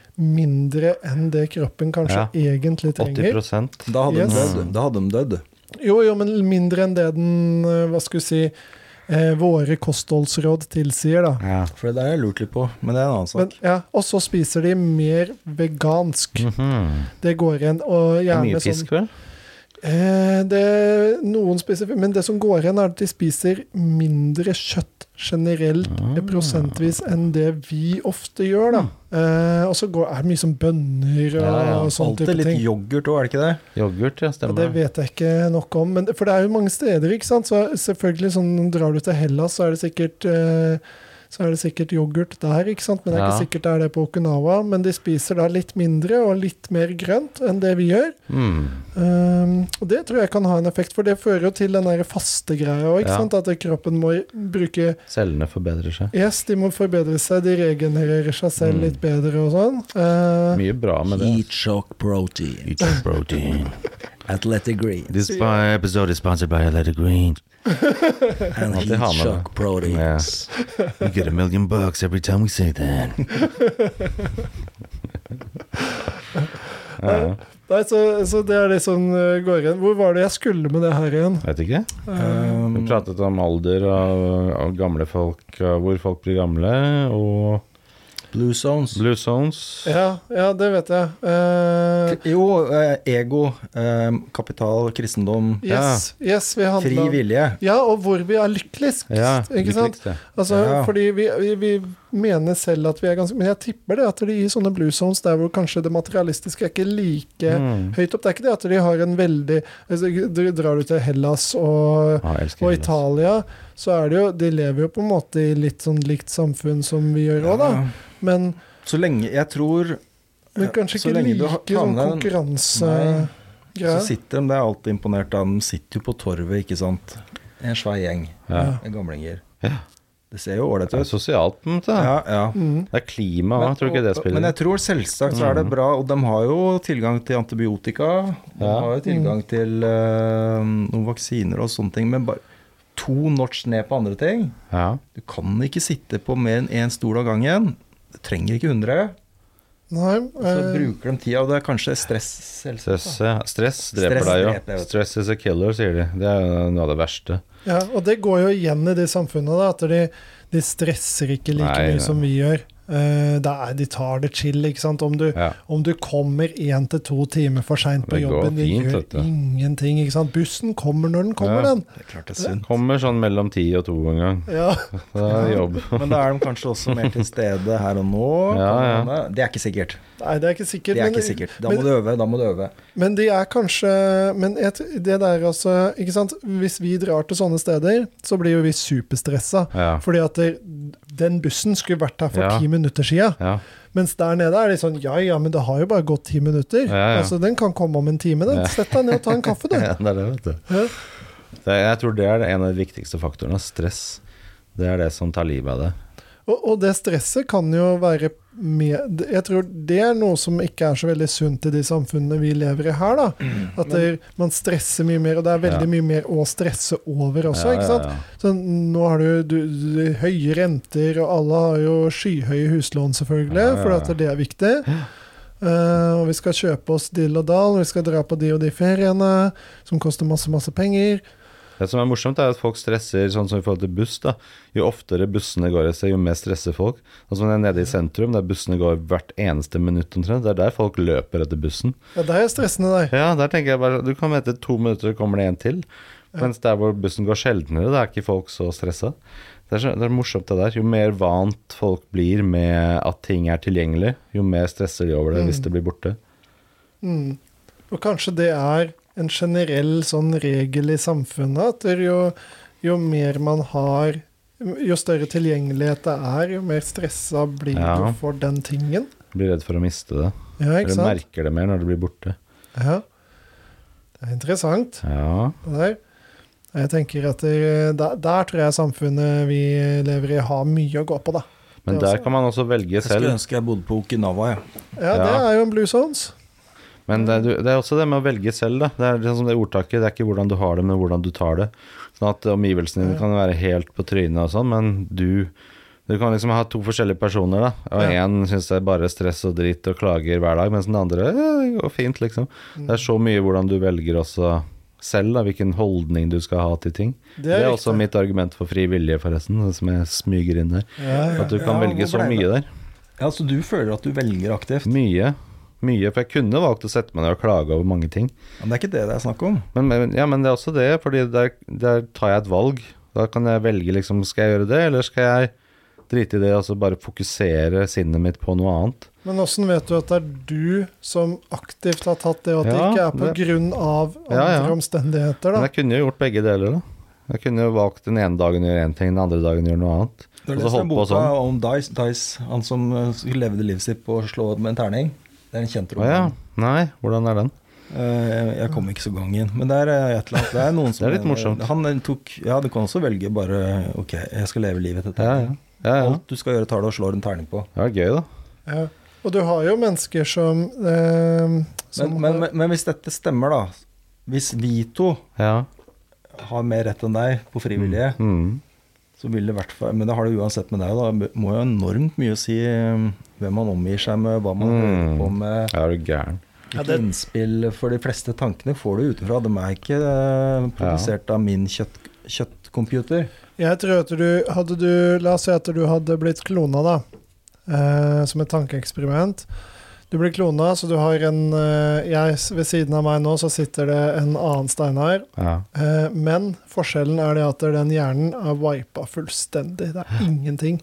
B: mindre enn det kroppen kanskje egentlig trenger.
D: 80
C: Da hadde,
B: Yes.
C: de, dødd. da hadde de dødd.
B: Jo, jo, men mindre enn det den, eh, hva skulle jeg si, eh, våre kostholdsråd tilsier, da.
D: ja.
C: For det der har jeg lurt litt på, men det er en annen
B: Men,
C: sak.
B: ja, og så spiser de mer vegansk.
D: Mhm.
B: Det går igjen. Og
D: Det er
B: gjerne
D: mye
B: sånn
D: fisk, vel?
B: eh, det, Noen spiser Men det som går igjen, er at de spiser mindre kjøtt generelt
D: Ah.
B: eh, prosentvis enn det vi ofte gjør, da. Eh, og så går, er det mye som bønner
D: Mm.
B: og,
D: Ja, ja,
B: og sånne sånn
C: Alltid
B: type
C: litt
B: ting.
C: yoghurt òg, er det ikke det?
D: Ah, Yoghurt, ja,
B: Ja, det
D: stemmer det.
B: vet jeg ikke nok om, men, for det er jo mange steder, ikke sant. Så selvfølgelig, sånn drar du til Hellas, så er det sikkert eh, så er det sikkert yoghurt der, ikke sant? men det er
D: Ja.
B: ikke sikkert det er det på Okinawa. Men de spiser da litt mindre og litt mer grønt enn det vi gjør.
D: Mm.
B: Um, og det tror jeg kan ha en effekt, for det fører jo til den der faste greia òg.
D: Ja.
B: sant? At kroppen må bruke
D: Cellene forbedrer seg.
B: Yes, de må forbedre seg, de regenererer seg selv
D: Mm.
B: litt bedre og sånn. Eh,
D: Mye bra med det.
C: shock protein.
A: Eat your protein.
C: Athletic <laughs> green.
A: This spi- episode is sponsored by Athletic Green.
C: And
D: Alltid ha med det.
C: protein.
D: Ja.
A: We get a million bucks every time we say that.
D: Ja, ja.
B: nei, så, så det er det som eh, går igjen. Hvor var det jeg skulle med det her igjen?
D: Vet ikke.
C: Um,
D: Vi pratet om alder og, og gamle folk, og hvor folk blir gamle, og
C: blue zones.
D: blue zones.
B: Ja, ja, det vet jeg. Eh,
C: Jo, eh, ego, eh, kapital, kristendom,
B: yes, yes, vi handler
C: fri vilje.
B: Ja, og hvor vi er lykkeligst.
D: Ja,
B: ikke sant?
D: lykkeligste.
B: Altså,
C: Ja.
B: Fordi vi, vi, vi mener selv at vi er ganske Men jeg tipper det at de i sånne blue zones der hvor kanskje det materialistiske er ikke like
D: Mm.
B: høyt opp. Det er ikke det at de har en veldig altså, du Drar du til Hellas og,
D: Ja, jeg elsker
B: og
D: Hellas.
B: Italia, så er det jo De lever jo på en måte i litt sånn likt samfunn som vi gjør òg,
C: Ja.
B: da. Men,
C: Så lenge Jeg tror
B: men
C: Ja,
B: kanskje
C: så
B: ikke
C: lenge du
B: like
C: har- tar
B: sånn
C: med deg den- Nei.
B: konkurransegreie.
C: så sitter de, det er alltid imponert av, de sitter jo på torvet, ikke sant. En svær gjeng
D: Ja.
B: Ja.
C: med gamlinger.
D: Ja.
C: Det ser jo ålreit
D: Det er
C: ut.
D: sosialt, på en måte.
C: Ja, ja.
B: Mm.
D: Det er klima òg, tror du ikke det spiller? Mm.
C: men jeg tror selvsagt så er det bra, og de har jo tilgang til antibiotika. De
D: Ja. Mm.
C: har jo tilgang til eh, noen vaksiner og sånne ting, men bare to notch ned på andre ting.
D: ja.
C: Du kan ikke sitte på mer enn én stol av gangen. Du trenger ikke 100.
B: Nei,
C: Og så
B: eh,
C: bruker de tida, og det er kanskje stress selv.
D: Stress, ja. Stress dreper
C: Stress dreper,
D: deg
C: vet
D: jo.
C: du.
D: Stress is a killer, sier de. Det er jo noe av det verste.
B: Ja, og det går jo igjen i de samfunnene. Da, at de, de stresser ikke like
D: Nei, nei.
B: mye som vi gjør. Eh, det er, de tar det chill, ikke sant. Om du,
D: Ja.
B: om du kommer én til to timer for seint på
D: Det går
B: jobben, det
D: fint,
B: gjør
D: dette.
B: ingenting. ikke sant? Bussen kommer når den kommer,
D: Ja.
B: den.
C: Det er klart det er synd.
D: Kommer sånn mellom ti og to en gang.
B: Ja.
D: Det er jobb.
C: Men da er de kanskje også mer til stede her og nå.
D: Ja,
C: kan hende. Det er ikke sikkert.
B: Nei, det er ikke sikkert.
C: Det er
B: men-
C: ikke sikkert. Da
B: men-
C: må du øve. Da må du øve.
B: Men de er kanskje Men et, det der altså Ikke sant? Hvis vi drar til sånne steder, så blir jo vi superstressa.
D: Ja.
B: Fordi at det, den bussen skulle vært her for
D: Ja.
B: ti minutter sia.
D: Ja.
B: Mens der nede er det sånn Ja ja, men det har jo bare gått ti minutter.
D: Ja, ja.
B: Altså, den kan komme om en time, den.
D: Ja.
B: Sett deg ned og ta en kaffe, du.
D: <laughs> Ja, det er det, vet du.
B: Ja.
D: Det, jeg tror det er en av de viktigste faktorene. Stress. Det er det som tar livet av det.
B: Og, og det stresset kan jo være med Jeg tror det er noe som ikke er så veldig sunt i de samfunnene vi lever i her, da. At det, man stresser mye mer, og det er veldig
D: Mm. Ja.
B: mye mer å stresse over også, ikke sant.
D: Ja,
B: Så nå har du, du, du høye renter, og alle har jo skyhøye huslån, selvfølgelig,
D: Ja, ja, ja.
B: for at det er viktig. Eh, og vi skal kjøpe oss dill og dal, vi skal dra på de og de feriene, som koster masse, masse penger.
D: ja. Det som er morsomt, er at folk stresser sånn som i forhold til buss. da. Jo oftere bussene går et sted, jo mer stresser folk. Sånn som det er nede i sentrum, der bussene går hvert eneste minutt omtrent. Det er der folk løper etter bussen.
B: Ja, det er stressende, det.
D: Ja, der tenker jeg bare Du kan vente to minutter, så kommer det en til. Mens der hvor bussen går sjeldnere, da er ikke folk så stressa. Det er, så, det er morsomt, det der. Jo mer vant folk blir med at ting er tilgjengelig, jo mer stresser de over det hvis det blir borte.
B: Mm. Og kanskje det er en generell sånn regel i samfunnet at det jo, jo mer man har jo større tilgjengelighet det er, jo mer stressa blir
D: Ja.
B: du for den tingen.
D: Blir redd for å miste det.
B: Ja,
D: Eller
B: ikke sant?
D: merker det mer når det blir borte.
B: Ja. Det er interessant.
D: Ja,
B: det der. Jeg tenker at det, der, der tror jeg samfunnet vi lever i har mye å gå på, da.
D: Men
B: Det er
D: der
B: også-
D: kan man også velge
C: Jeg skulle
D: selv.
C: ønske jeg bodde på Okinawa, jeg.
B: Ja, det
D: Ja.
B: er jo en Blue Zones.
D: Men det er, du- det er også det med å velge selv, da. Det er sånn som det ordtaket. Det er ikke hvordan du har det, men hvordan du tar det. Sånn at omgivelsene dine kan være helt på trynet og sånn, men du Du kan liksom ha to forskjellige personer, da. Og
B: Ja.
D: én syns det er bare stress og dritt og klager hver dag, mens den andre ja, det går fint, liksom.
B: Mm.
D: Det er så mye hvordan du velger også selv, da. Hvilken holdning du skal ha til ting.
B: Det er
D: Det er,
B: riktig.
D: også mitt argument for fri vilje, forresten, som jeg smyger inn her.
B: Ja, ja.
D: At du kan
C: Ja,
D: velge så
C: hvorfor det?
D: mye der.
C: Ja, Så du føler at du velger aktivt?
D: Mye. Mye, for jeg kunne valgt å sette meg ned og klage over mange ting.
C: Men det er ikke det det er snakk om.
D: Men, men, ja, men det er også det, fordi der, der tar jeg et valg. Da kan jeg velge liksom, skal jeg gjøre det, eller skal jeg drite i det og så bare fokusere sinnet mitt på noe annet.
B: Men åssen vet du at det er du som aktivt har tatt det, og at det
D: Ja,
B: ikke er på
D: det-
B: grunn av andre
D: Ja, ja.
B: omstendigheter,
D: Men
B: da?
D: jeg kunne jo gjort begge deler, da. Jeg kunne jo valgt den ene dagen å gjøre én ting, den andre dagen å gjøre noe annet. Og så
C: Du har lest den
D: holdt på
C: boka
D: sånn.
C: om Dice, Dice, han som eh, levde livet sitt på å slå med en terning. Det er en kjent
D: Å ja.
C: roman.
D: Nei, hvordan er den?
C: Eh, Jeg kom ikke så gang inn. Men det er eh, et eller annet. Det er, noen
D: <laughs>
C: som
D: Det er litt morsomt.
C: Han eh, tok Ja, du kan også velge bare Ok, jeg skal leve livet til
D: Ja,
C: terning.
D: ja. ja, ja.
C: Alt du skal gjøre, tar du og slår en terning på.
D: Det var gøy, da.
B: Ja. Og du har jo mennesker som, eh, som
C: Men, men,
B: har-
C: men, men hvis dette stemmer, da Hvis vi to
D: Ja.
C: har mer rett enn deg på frivillige,
D: Mm.
C: så vil det i hvert fall Men det har det uansett med deg, da. Det må jo enormt mye å si eh, hvem man omgir seg med, hva man holder
D: Mm.
C: på med.
D: Ja, er du gæren.
B: Ja,
C: Litt
B: det-
C: innspill, for de fleste tankene får du utenfra. De er ikke eh, produsert av min kjøtt, kjøttcomputer.
B: Jeg tror at du hadde du La oss si at du hadde blitt klona, da. Eh, som et tankeeksperiment. Du blir klona, så du har en eh, jeg, Ved siden av meg nå så sitter det en annen Steinar.
D: Ja.
B: Eh, men forskjellen er det at den hjernen er wipa fullstendig. Det er ingenting.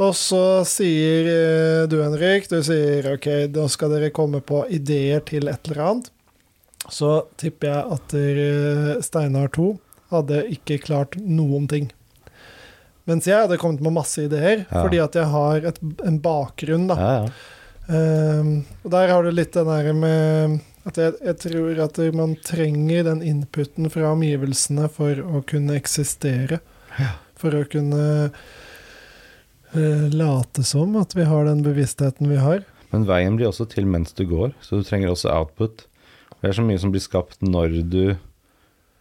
B: Og så sier eh, du, Henrik, du sier OK, da skal dere komme på ideer til et eller annet. Så tipper jeg at dere, eh, Steinar 2 hadde ikke klart noen ting. Mens jeg hadde kommet med masse ideer,
D: Ja.
B: fordi at jeg har et, en bakgrunn, da.
D: Ja, ja.
B: Ehm, og der har du litt den der med at jeg, jeg tror at man trenger den inputen fra omgivelsene for å kunne eksistere. For å kunne eh, late som at vi har den bevisstheten vi har.
D: Men veien blir også til mens du går, så du trenger også output. Det er så mye som blir skapt når du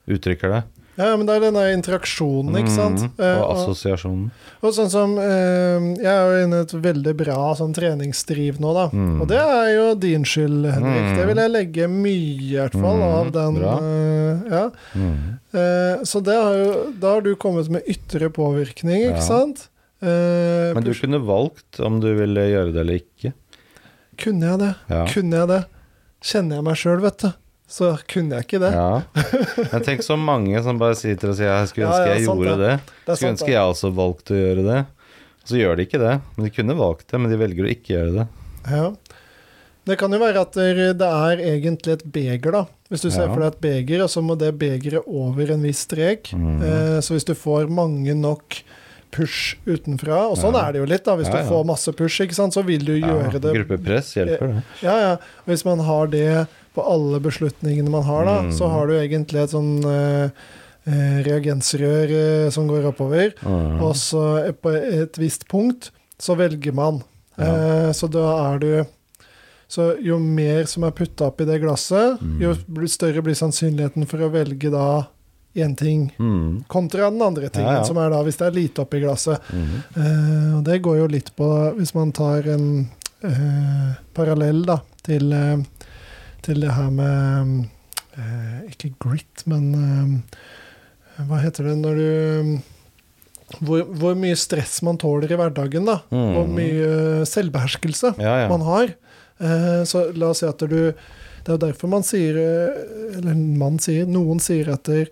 D: uttrykker det.
B: Ja, men det er den der interaksjonen, ikke sant.
D: Mhm.
B: Eh,
D: Og
B: og,
D: assosiasjonen.
B: og sånn som eh, Jeg er jo inne i et veldig bra sånn treningsdriv nå, da.
D: Mm.
B: Og det er jo din skyld, Henrik.
D: Mm.
B: Det vil jeg legge mye, i hvert fall,
D: Mm,
B: av den
D: bra.
B: eh, Ja.
D: Mhm.
B: Eh, så det har jo Da har du kommet med ytre påvirkning, ikke
D: Ja.
B: sant? Eh,
D: Men du
B: push-
D: kunne valgt om du ville gjøre det eller ikke.
B: Kunne jeg det?
D: Ja.
B: Kunne jeg det? Kjenner jeg meg sjøl, vet du. Så kunne jeg ikke det.
D: Ja. Men tenk så mange som bare sitter og sier jeg skulle
B: Ja,
D: ønske
B: ja,
D: jeg
B: sant
D: gjorde
B: det.
D: det.
B: det er
D: Skulle
B: sant,
D: ønske jeg også valgte å gjøre det. Så gjør de ikke det. Men de kunne valgt det, men de velger å ikke gjøre det.
B: det. Ja. Det kan jo være at der- det er egentlig et beger, da. Hvis du ser
D: Ja.
B: for deg et beger, og så må det begeret over en viss strek.
D: Mhm.
B: Eh, så hvis du får mange nok push utenfra, og sånn
D: Ja.
B: er det jo litt, da. Hvis
D: Ja, ja.
B: du får masse push, ikke sant, så vil du
D: Ja,
B: gjøre det
D: Gruppepress hjelper, det.
B: Ja, ja. Og hvis man har det på alle beslutningene man har, da,
D: Mm.
B: så har du egentlig et sånn eh, eh, reagensrør eh, som går oppover.
D: Mhm.
B: Og så eh, på et visst punkt så velger man. Eh, så da er du Så jo mer som er putta oppi det glasset,
D: Mm.
B: jo bl- større blir sannsynligheten for å velge da én ting
D: Mhm.
B: kontra den andre tingen,
D: Ja, ja.
B: som er da hvis det er lite oppi glasset.
D: Mhm.
B: Eh, og det går jo litt på, hvis man tar en eh, parallell da, til, eh, til det her med eh, Ikke grit, men eh, hva heter det når du hvor, hvor mye stress man tåler i hverdagen, da.
D: Mhm.
B: Hvor mye selvbeherskelse
D: Ja, ja.
B: man har. Eh, så la oss si at du Det er jo derfor man sier eh, Eller man sier, noen sier etter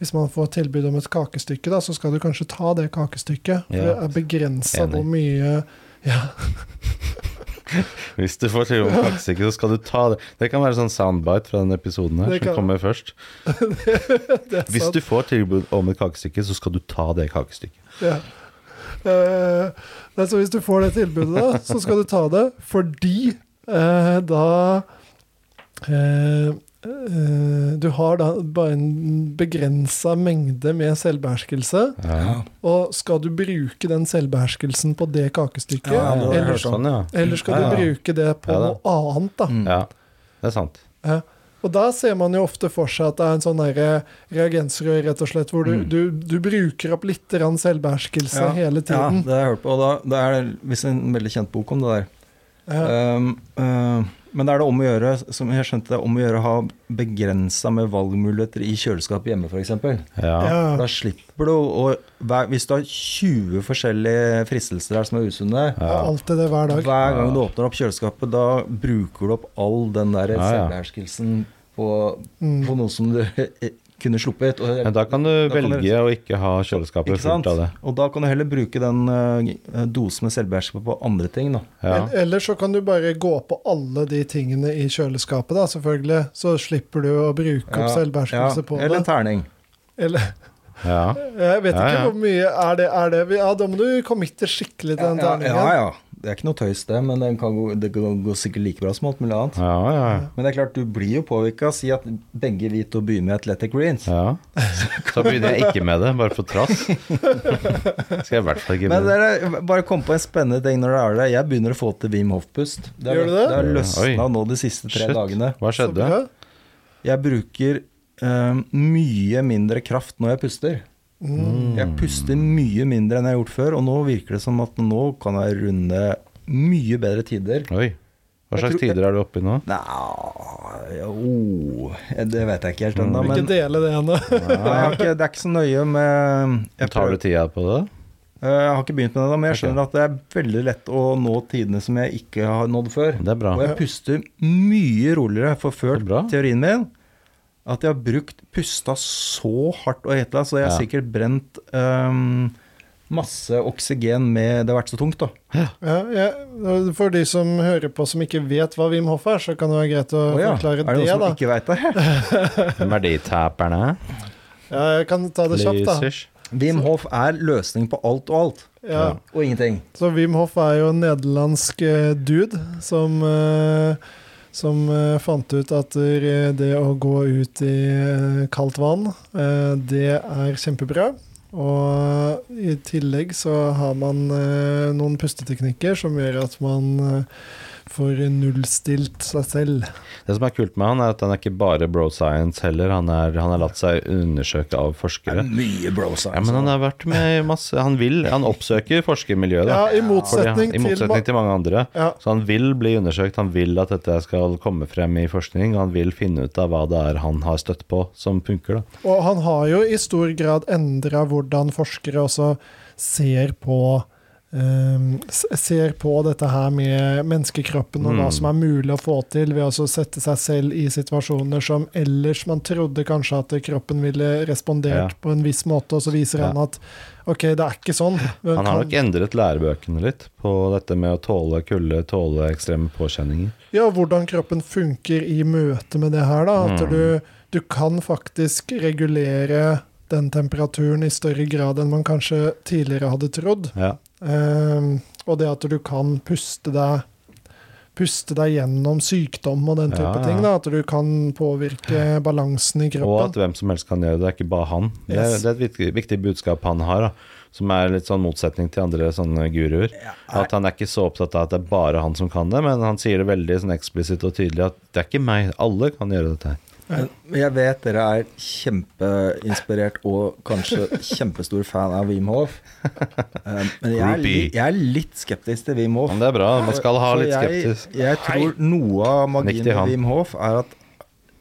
B: hvis man får tilbud om et kakestykke, da, så skal du kanskje ta det kakestykket. For
D: Ja.
B: det er begrensa
D: Enig.
B: hvor mye <laughs> ja,
D: Hvis du får til om kakestykke, så skal du ta det. Det kan være sånn soundbite fra den episoden her
B: Det
D: som
B: kan-
D: kommer først.
B: det er
D: Hvis
B: sant.
D: du får tilbud om et kakestykke, så skal du ta det kakestykket.
B: Ja. Eh, nei, så hvis du får det tilbudet, da, så skal du ta det, fordi eh, da eh, eh, Du har da bare en begrensa mengde med selvbeherskelse.
D: Ja.
B: Og skal du bruke den selvbeherskelsen på det kakestykket,
D: Ja,
C: Ja, det har jeg
B: eller,
C: hørt om.
D: sånn, ja.
B: eller skal
D: Ja, ja.
B: du bruke det på
D: Ja da.
B: noe annet, da?
C: Mm.
D: ja. Det er sant.
B: Ja. Og da ser man jo ofte for seg at det er en sånn derre reagensrør, rett og slett, hvor du,
D: Mm.
B: du, du bruker opp litt grann selvbeherskelse
C: Ja,
B: hele
C: Ja,
B: tiden.
C: det har jeg hørt på. Og da, det er visst en veldig kjent bok om det der.
B: Ja.
C: Um, uh, men da er det om å gjøre, som jeg skjønte, det er om å gjøre å ha begrensa med valgmuligheter i kjøleskapet hjemme, f.eks.
D: Ja.
B: Ja.
C: Da slipper du å hver- Hvis du har 20 forskjellige fristelser der som er usunne,
B: Ja. Alltid det hver dag.
C: hver gang du åpner opp kjøleskapet, da bruker du opp all den der
D: Ja, ja.
C: selvbeherskelsen på,
B: Mm.
C: på noe som du <laughs> eh, kunne sluppet. Og,
D: Men da kan du
C: Da kan du-
D: velge å ikke ha kjøleskapet
C: ikke sant?
D: fullt av det.
C: Og da kan du heller bruke den eh, dosen med selvbeherskelse på andre ting, da.
D: Ja.
B: El- Eller så kan du bare gå på alle de tingene i kjøleskapet, da, selvfølgelig. Så slipper du å bruke opp selvbeherskelse på
C: Eller en
B: det.
C: terning.
B: Eller,
D: ja.
B: jeg vet
D: Ja,
B: ikke
D: ja.
B: hvor mye er det, er det Ja, da må du committe skikkelig til den
C: Ja,
B: terningen.
C: ja, ja. Det er ikke noe tøys, det, men den kan gå, det kan gå sikkert like bra som alt mulig annet.
D: Ja, ja,
C: Men det er klart, du blir jo påvirka. Si at begge vi to begynner med Athletic Greens.
D: ja.
C: <laughs>
D: Så begynner jeg ikke med det, bare for trass. Skal jeg i hvert fall ikke med
C: Men
D: det.
C: dere, bare kom på en spennende ting når dere er der. Jeg begynner å få til Wim Hof-pust. Det har-
B: Gjør du det?
C: Det har løsna
D: Oi.
C: nå de siste tre
D: Shit.
C: dagene.
D: Hva
B: Så
D: skjedde?
B: bra.
C: Jeg bruker eh, mye mindre kraft når jeg puster.
B: Mm.
C: Jeg puster mye mindre enn jeg har gjort før, og nå virker det som at nå kan jeg runde mye bedre tider.
D: Oi. Hva
C: Jeg
D: slags
C: tror- jeg-
D: tider er du oppe i nå?
C: Nei oh, Det vet jeg ikke helt
D: Mm.
C: ennå,
B: Ikke
C: men
B: dele det ennå. <laughs>
C: Nei, jeg har ikke, det er ikke så nøye med jeg,
D: Tar du
C: prøver-
D: tida på det?
C: Eh, jeg har ikke begynt med det, da, men jeg skjønner at det er veldig lett å nå tidene som jeg ikke har nådd før.
D: Det er bra.
C: Og jeg puster mye roligere, for før
D: Det er bra.
C: teorien min at jeg har brukt pusta så hardt og heta, så jeg har
D: Ja.
C: sikkert brent ehm, masse oksygen med Det har vært så tungt, da.
B: Ja, ja. For de som hører på som ikke vet hva Wim Hoff er, så kan det være greit å
C: Å ja, Er
B: forklare
C: det noen
B: det,
C: som
B: da.
C: ikke veit
B: <laughs>
C: det?
D: Hvem er de taperne?
B: Ja, jeg kan ta det kjapt, da.
D: Losers?
C: Wim Hof er løsning på alt og alt,
B: Ja.
C: og ingenting.
B: Så Wim Hoff er jo en nederlandsk eh, dude som eh, som eh, fant ut at eh, det å gå ut i eh, kaldt vann, eh, det er kjempebra. Og i tillegg så har man eh, noen pusteteknikker som gjør at man eh, for nullstilt seg selv.
D: Det som er kult med han, er at han er ikke bare bro science heller. Han, er, han har latt seg undersøke av
C: Det
D: forskere.
C: er mye bro science.
D: Ja, men han har vært med i masse Han vil, han oppsøker forskermiljøet, da.
B: Ja, i
D: Fordi han-
B: motsetning,
D: I motsetning
B: til
D: til mange andre.
B: Ja.
D: Så han vil bli undersøkt, han vil at dette skal komme frem i forskning, og han vil finne ut av hva det er han har støtt på som funker. Da.
B: Og han har jo i stor grad endra hvordan forskere også ser på eh, s- Ser på dette her med menneskekroppen og hva
D: Mm.
B: som er mulig å få til, ved også å sette seg selv i situasjoner som ellers man trodde kanskje at kroppen ville
D: Ja.
B: respondert på en viss måte, og så viser
D: Ja.
B: han at OK, det er ikke sånn. Men
D: Han har
B: kan-
D: nok endret lærebøkene litt på dette med å tåle kulde, tåle ekstreme påkjenninger.
B: Ja, hvordan kroppen funker i møte med det her, da. At
D: Mm.
B: du, du kan faktisk regulere den temperaturen i større grad enn man kanskje tidligere hadde trodd.
D: Ja.
B: Ehm, og det at du kan puste deg Puste deg gjennom sykdom og den type
D: Ja, ja.
B: ting. da, At du kan påvirke balansen i
D: Og at
B: kroppen.
D: hvem som helst kan gjøre det, det er ikke bare han. Det er,
B: Yes.
D: det er et viktig, viktig budskap han har, da, som er litt sånn motsetning til andre sånne guruer. At han er ikke så opptatt av at det er bare han som kan det, men han sier det veldig sånn eksplisitt og tydelig at det er ikke meg, alle kan gjøre dette her.
C: Eh, Men Jeg vet dere er kjempeinspirert og kanskje kjempestor fan av Wim Hof. Um, Men jeg er, li-
D: Groupie.
C: jeg er litt skeptisk til Wim Hof.
D: Men det er bra, man skal ha
C: For
D: litt
C: jeg-
D: skeptisk.
C: Jeg tror noe av
D: Nikk til
C: magien med
D: han.
C: Wim Hof er at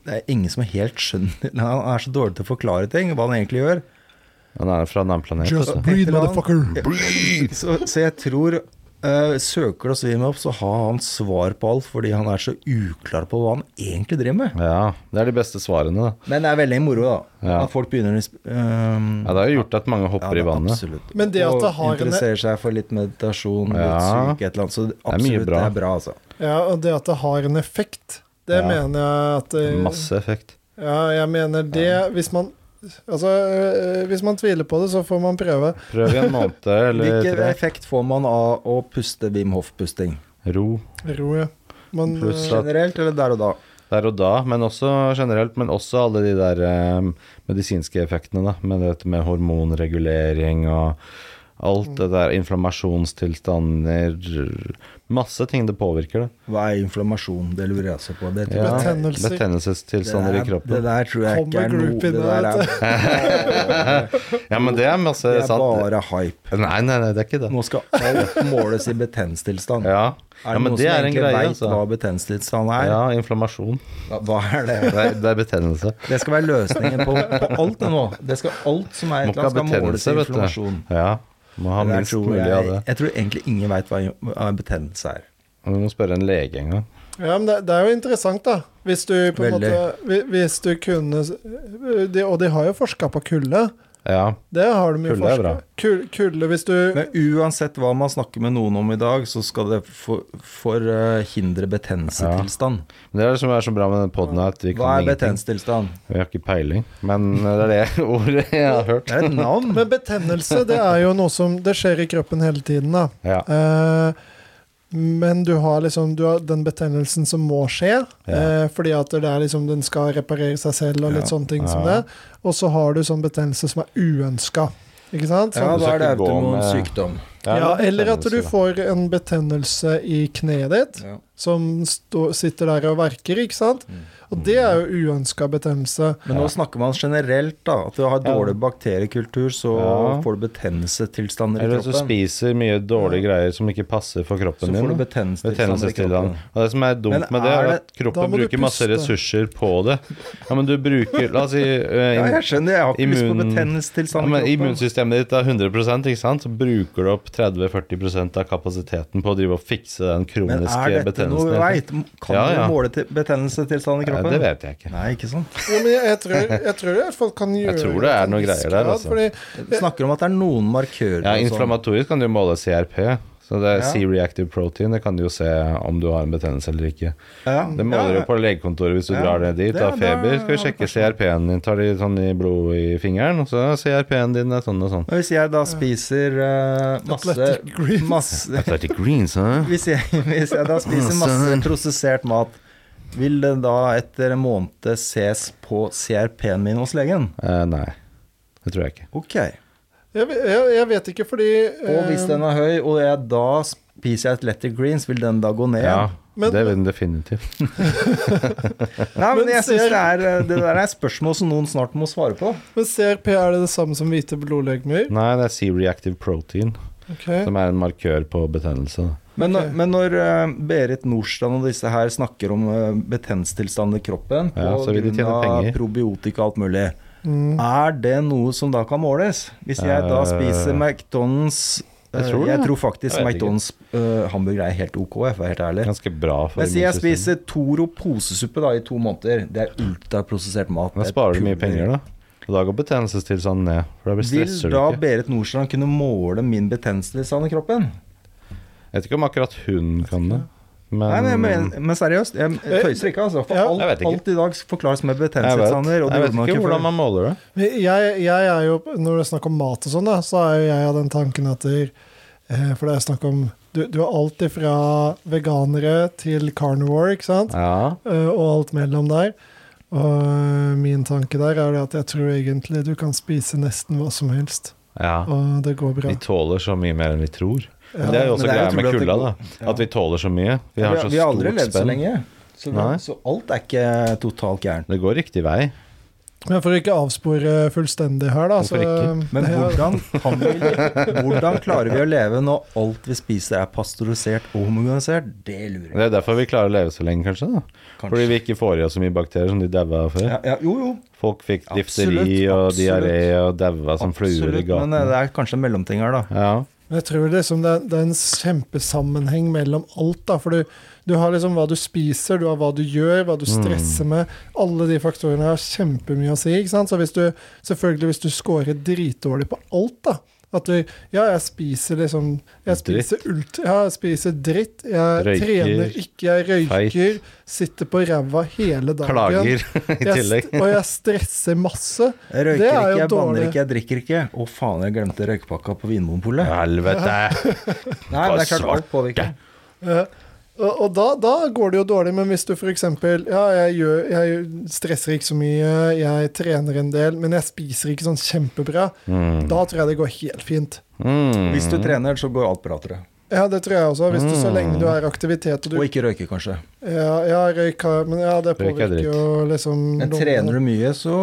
C: det er ingen som helt skjønner <laughs> Nei, Han er så dårlig til å forklare ting, hva han egentlig gjør.
D: Han er fra en annen planet.
B: Just
D: altså.
B: breathe,
C: Et eller annet-
B: motherfucker!
C: Så, så jeg tror eh, Søker du oss Wim Hof, så har han svar på alt fordi han er så uklar på hva han egentlig driver med.
D: Ja, det er de beste svarene, da.
C: Men det er veldig moro, da.
D: Ja.
C: At folk begynner å sp- ehm,
D: Ja, det har jo gjort at mange hopper
C: ja,
D: i vannet.
C: Absolutt.
B: Men det at
C: og
B: det har en- e-
C: interesserer seg for litt meditasjon, litt
D: Ja.
C: psyke, et eller annet. Så
D: er
C: absolutt,
D: mye
C: det er,
D: bra.
C: bra, altså.
B: Ja, og det at det har en effekt, det
D: Ja.
B: mener jeg at det,
D: Masse effekt.
B: Ja, jeg mener det Hvis man Altså, øh, hvis man tviler på det, så får man prøve.
D: Prøv i en måned eller
C: Hvilken
D: tre.
C: effekt får man av å puste Wim Hof-pusting?
D: Ro
B: Ro, ja. Men,
D: Pluss
B: øh,
D: at-
C: Generelt eller der og da?
D: der og da, men også generelt. Men også alle de der eh, medisinske effektene, da. Med dette med hormonregulering og alt det der. Inflammasjonstilstander Masse ting det påvirker, da.
C: Hva er inflammasjon? Det lurer jeg også på. Det, tror
D: Ja,
C: jeg-
B: Betennelser.
D: Betennelsestilstander i
C: det, der, det
D: kroppen.
C: der tror jeg ikke er
B: Kommer
C: noe
B: groupie
C: Det der
B: nå,
C: er,
D: Ja, men det er masse
C: det er
D: sant.
C: bare hype.
D: Nei, nei, nei, det er ikke det.
C: Nå skal <laughs> alt måles i betennelsestilstand.
D: Ja,
C: Er
D: ja
C: det
D: men
C: noen
D: det
C: som
D: er en
C: egentlig
D: greie,
C: vet hva
D: altså.
C: betennelsestilstand er?
D: Ja, inflammasjon.
C: Hva- Hva er det?
D: Det er, det er betennelse.
C: Det skal være løsningen på, på alt det nå. Det skal, alt som er
D: Må
C: et
D: ikke
C: eller
D: ha
C: annet, skal måles
D: betennelse,
C: i
D: vet du.
C: inflammasjon.
D: Ja, må ha
C: Det der
D: minst
C: tror
D: mulig av
C: jeg,
D: det.
C: jeg tror egentlig ingen veit hva hva betennelse er.
D: Du må spørre en lege en gang.
B: Ja, men det, det er jo interessant, da. Hvis du på en
C: Veldig.
B: måte hvi- Hvis du kunne s- eh, de, Og de har jo forska på kulde.
D: Ja,
B: Det har de jo
D: Kulde er
B: forska
D: bra.
B: Kul- Kulde, hvis du
C: Men uansett hva man snakker med noen om i dag, så skal det for- forhindre betennelsestilstand.
D: Men Det er det som er så bra med den poden, at vi
C: Hva
D: kan
C: er
D: ingenting.
C: betennelsestilstand?
D: Vi har ikke peiling, men eh, det er det <laughs> ordet jeg har hørt.
C: Det er et <laughs> navn.
B: Men betennelse, det er jo noe som Det skjer i kroppen hele tiden, da.
D: Ja.
B: Eh, men du har liksom du har den betennelsen som må skje,
D: Ja.
B: eh, fordi at det er liksom den skal reparere seg selv og litt sånne ting som
D: Ja.
B: det. Og så har du sånn betennelse som er uønska. Ikke sant?
C: Ja,
B: Sånn,
C: da
D: Du skal
C: er det
D: ikke gå
C: autonom
D: med-
C: sykdom.
B: ja,
D: det er
B: eller at du
D: betennelse,
B: får en betennelse i kneet ditt,
C: Ja.
B: som stå, sitter der og verker, ikke sant?
C: Mm.
B: Og det er jo uønska betennelse.
C: Men nå snakker man generelt, da. At du har dårlig bakteriekultur, så
D: Ja.
C: får
D: da.
C: du betennelsestilstander i
D: Eller hvis du
C: kroppen.
D: spiser mye dårlige greier som ikke passer for
C: Så
D: kroppen
C: får du
D: din. da.
C: betennelsestilstander i kroppen.
D: Betennelsestilstand. Og det som er dumt
C: Men
D: med det, er
C: er
D: at
B: Da
D: kroppen
B: må du
D: bruker masse
B: puste.
D: ressurser på det. Ja, men du bruker La oss si eh,
C: Ja, jeg skjønner, jeg har ikke lyst på
D: immun- Ja,
C: betennelsestilstand i
D: men
C: kroppen.
D: immunsystemet ditt er 100 ikke sant? så bruker du opp 30-40 av kapasiteten på å drive og fikse den
C: Men er
D: kroniske
C: dette noe vi
D: betennelsen.
C: veit? Kan
D: Ja, ja.
C: du måle til betennelsestilstand i
D: Ja,
C: kroppen?
D: det vet jeg ikke.
C: Nei, ikke sant.
B: Jo, men jeg, jeg, tror, jeg tror at folk kan gjøre
D: tror det er
B: til en
D: noe
B: viss
D: greier der,
B: grad,
D: altså.
B: fordi-
C: Du snakker om at det er noen markører.
D: Ja,
C: og sånn.
D: inflammatorisk kan du jo måle CRP. Så det er
C: Ja.
D: C-reactive protein. Det kan du jo se om du har en betennelse eller ikke.
C: Ja,
D: Det måler du
C: ja,
D: jo på legekontoret hvis du
C: Ja,
D: drar ned dit.
C: det-
D: Har feber,
C: da-
D: skal vi sjekke CRP-en din. Tar de sånn i blodet i fingeren, og så CRP-en din er sånn og sånn.
C: Men hvis jeg da spiser eh, masse,
B: Athletic greens.
C: masse <laughs>
A: Athletic greens, huh?
C: hvis, jeg, hvis jeg da spiser masse
A: Søren.
C: prosessert mat, vil det da etter en måned ses på CRP-en min hos legen?
D: Eh, nei, det tror jeg ikke.
C: Ok.
B: Jeg, ve- jeg, jeg vet ikke, fordi
C: Og hvis
B: eh,
C: den er høy, og jeg da spiser jeg Athletic Greens, vil den da gå ned?
D: Ja,
B: Men-
D: det vil den definitivt.
C: Nei, men
B: Men
C: jeg
B: ser-
C: synes det, er, eh, det der er spørsmål som noen snart må svare på.
B: Men CRP, er det det samme som hvite blodlegemer?
D: Nei, det er C-reactive protein,
B: Ok.
D: som er en markør på betennelse. da.
C: Men, når-
B: Ok.
C: men når eh, Berit Nordstrand og disse her snakker om eh, betennelsestilstanden i kroppen på
D: Ja, så vil de
C: grunn
D: tjene
C: av
D: penger.
C: probiotika og alt mulig,
B: Mm.
C: er det noe som da kan måles? Hvis jeg da
D: Eh,
C: spiser McDonald's eh,
D: jeg tror det.
C: Jeg tror faktisk
D: Jeg vet ikke.
C: McDonald's eh, hamburger er helt ok, for å være helt ærlig.
D: Ganske bra for
C: Men si jeg
D: immunsystemet.
C: spiser Toro posesuppe da i to måneder. Det er ultraprosessert mat.
D: Da sparer du mye penger, da. Og da går betennelsestilstanden ned. For da blir
C: Vil
D: stresser du
C: da
D: ikke.
C: Berit Nordstrand kunne måle min betennelsestilstand i kroppen?
D: Jeg vet ikke om akkurat hun kan det.
C: Nei,
D: Men,
C: men, men,
D: Um,
C: men seriøst, jeg tøyser ikke, altså. For
B: Ja.
C: alt,
D: Eh, Jeg vet ikke.
C: alt i dag forklares med
D: jeg vet,
C: betennelsestilstander. og
D: jeg
C: det
D: vet
C: gjorde man
D: ikke
C: før.
D: hvordan man måler det.
B: Men Jeg, jeg er jo, når det er snakk om mat og sånn, da, så er jo jeg av den tanken at det, eh, For det er snakk om Du, du har alt ifra veganere til carnivore, ikke sant?
D: Ja,
B: Eh, Og alt mellom der. Og eh, min tanke der er det at jeg tror egentlig du kan spise nesten hva som helst,
D: ja.
B: og det går bra.
D: Vi tåler så mye mer enn vi tror.
B: Ja.
D: det er jo også
C: Men det er
D: greia
C: jo
D: med
C: utrolig at det
D: kulda, da.
C: går- ja.
D: At vi tåler så mye. Vi
C: Vi
D: har
C: har,
D: så
C: vi har aldri
D: stort
C: levd så
D: spenn.
C: lenge. Så, vi,
D: Nei.
C: så alt er ikke totalt gærent.
D: Det går riktig vei.
B: Men for å ikke avspore fullstendig her, da, så
D: Hvorfor ikke?
C: Men
B: det er-
C: hvordan, kan vi, hvordan klarer vi å leve når alt vi spiser er pasteurisert og homogenisert? Det lurer jeg
D: Det er derfor vi klarer å leve så lenge, kanskje. da.
C: Kanskje.
D: Fordi vi ikke får i oss så mye bakterier som de daua av før.
C: ja, ja, Jo, jo.
D: Folk fikk
C: Absolutt,
D: difteri og
C: absolutt.
D: diaré og daua som fluer i
C: Absolutt,
D: gaten.
C: Men eh, det er kanskje en mellomting her, da.
D: Ja.
B: Men Jeg tror liksom det, er, det er en kjempesammenheng mellom alt. da, For du, du har liksom hva du spiser, du har hva du gjør, hva
D: Mm.
B: du stresser med. Alle de faktorene har kjempemye å si. ikke sant? Så hvis du, selvfølgelig hvis du scorer dritdårlig på alt, da at du, ja, jeg spiser liksom Jeg
D: Dritt.
B: spiser ult, ja, jeg spiser dritt. Jeg
D: Røyker.
B: trener ikke, jeg røyker.
D: Feit.
B: Sitter på ræva hele dagen.
D: Klager <laughs> i
B: Jeg
D: tillegg.
B: st- og jeg stresser masse.
C: Jeg
B: Det er
C: røyker ikke,
B: jo
C: jeg banner
B: dårlig.
C: ikke, jeg drikker ikke. Å faen, jeg glemte røykpakka på Vinmonopolet.
D: Helvete!
C: Nei, men det er klart alt påvirker.
B: Ja. Eh, Og, og da, da går det jo dårlig, men hvis du f.eks. Ja, jeg, gjør, jeg stresser ikke så mye, jeg trener en del, men jeg spiser ikke sånn kjempebra, da tror jeg det går helt fint.
D: Mm.
C: Hvis du trener, så går alt bra, tror jeg.
B: Ja, det tror jeg også. Hvis du så lenge du er i aktivitet og du
C: Og ikke røyker, kanskje.
B: Ja, ja røyk har Men ja,
D: Røyk
B: det
D: er
B: påvirker
D: dritt.
B: jo liksom
C: Men
B: lungene.
C: trener du mye, så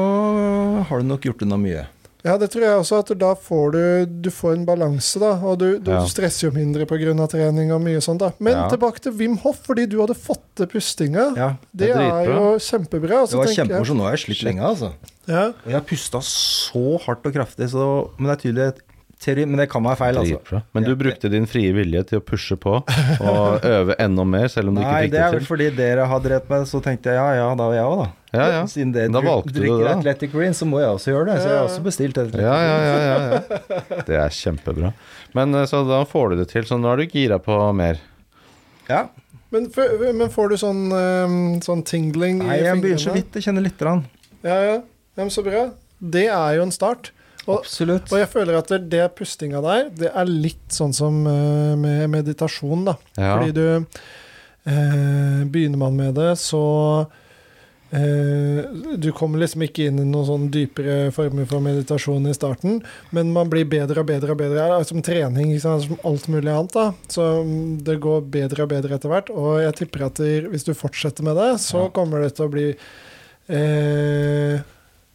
C: har du nok gjort unna mye.
B: Ja, det tror jeg også, at da får du Du får en balanse, da. Og du, du
D: Ja.
B: stresser jo mindre pga. trening og mye sånt, da. Men
D: Ja.
B: tilbake til Wim Hoff, fordi du hadde fått til pustinga.
C: Ja,
D: det
B: det,
D: er
B: er,
D: dritbra.
B: jo kjempebra. og så
C: Det var
B: tenker jeg-
C: kjempemorsomt. Nå har jeg slitt lenge, altså.
B: Ja.
C: Og jeg har pusta så hardt og kraftig, så Men det er tydelig at teori, Men det kan være feil, altså.
D: Dritbra. Men du
C: Ja.
D: brukte din frie vilje til å pushe på
C: <laughs>
D: og øve enda mer, selv om du
C: Nei,
D: ikke fikk
C: det
D: det
C: er vel
D: til.
C: fordi dere har drept meg, så tenkte jeg ja, ja, da var jeg òg, da.
D: Ja, ja.
C: Siden dere
D: Da
C: drik-
D: valgte du
C: drikker
D: det, da.
C: Athletic Green, så må jeg også gjøre det. Så jeg har
B: Ja, ja.
C: også bestilt Athletic
D: Ja, ja, ja, ja, ja. Det er kjempebra. Men eh, så da får du det til, så nå er du gira på mer.
C: Ja.
B: Men, f- men får du sånn, ehm, sånn tingling
C: Nei,
B: i
C: jeg
B: fingrene?
C: begynner så vidt å kjenne lite grann.
B: Ja, ja. ja, men så bra. Det er jo en start. Og,
C: Absolutt.
B: og jeg føler at det, det pustinga der, det er litt sånn som eh, med meditasjon, da.
D: Ja.
B: Fordi du eh, Begynner man med det, så eh, Du kommer liksom ikke inn i noen sånn dypere former for meditasjon i starten, men man blir bedre og bedre og bedre. Det er Som trening, ikke sant? som alt mulig annet. da Så mm, det går bedre og bedre etter hvert. Og jeg tipper at det- hvis du fortsetter med det, så
C: Ja.
B: kommer det til å bli eh,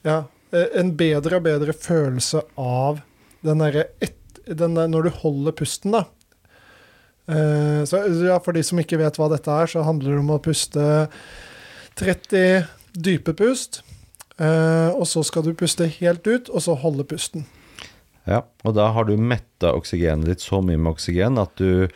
B: Ja, eh, en bedre og bedre følelse av den derre et- den der Når du holder pusten, da. Eh, Så ja, for de som ikke vet hva dette er, så handler det om å puste 30 dype pust. eh, Og så skal du puste helt ut, og så holde pusten.
D: Mm. Ja, og da har du metta oksygenet ditt så mye med oksygen at du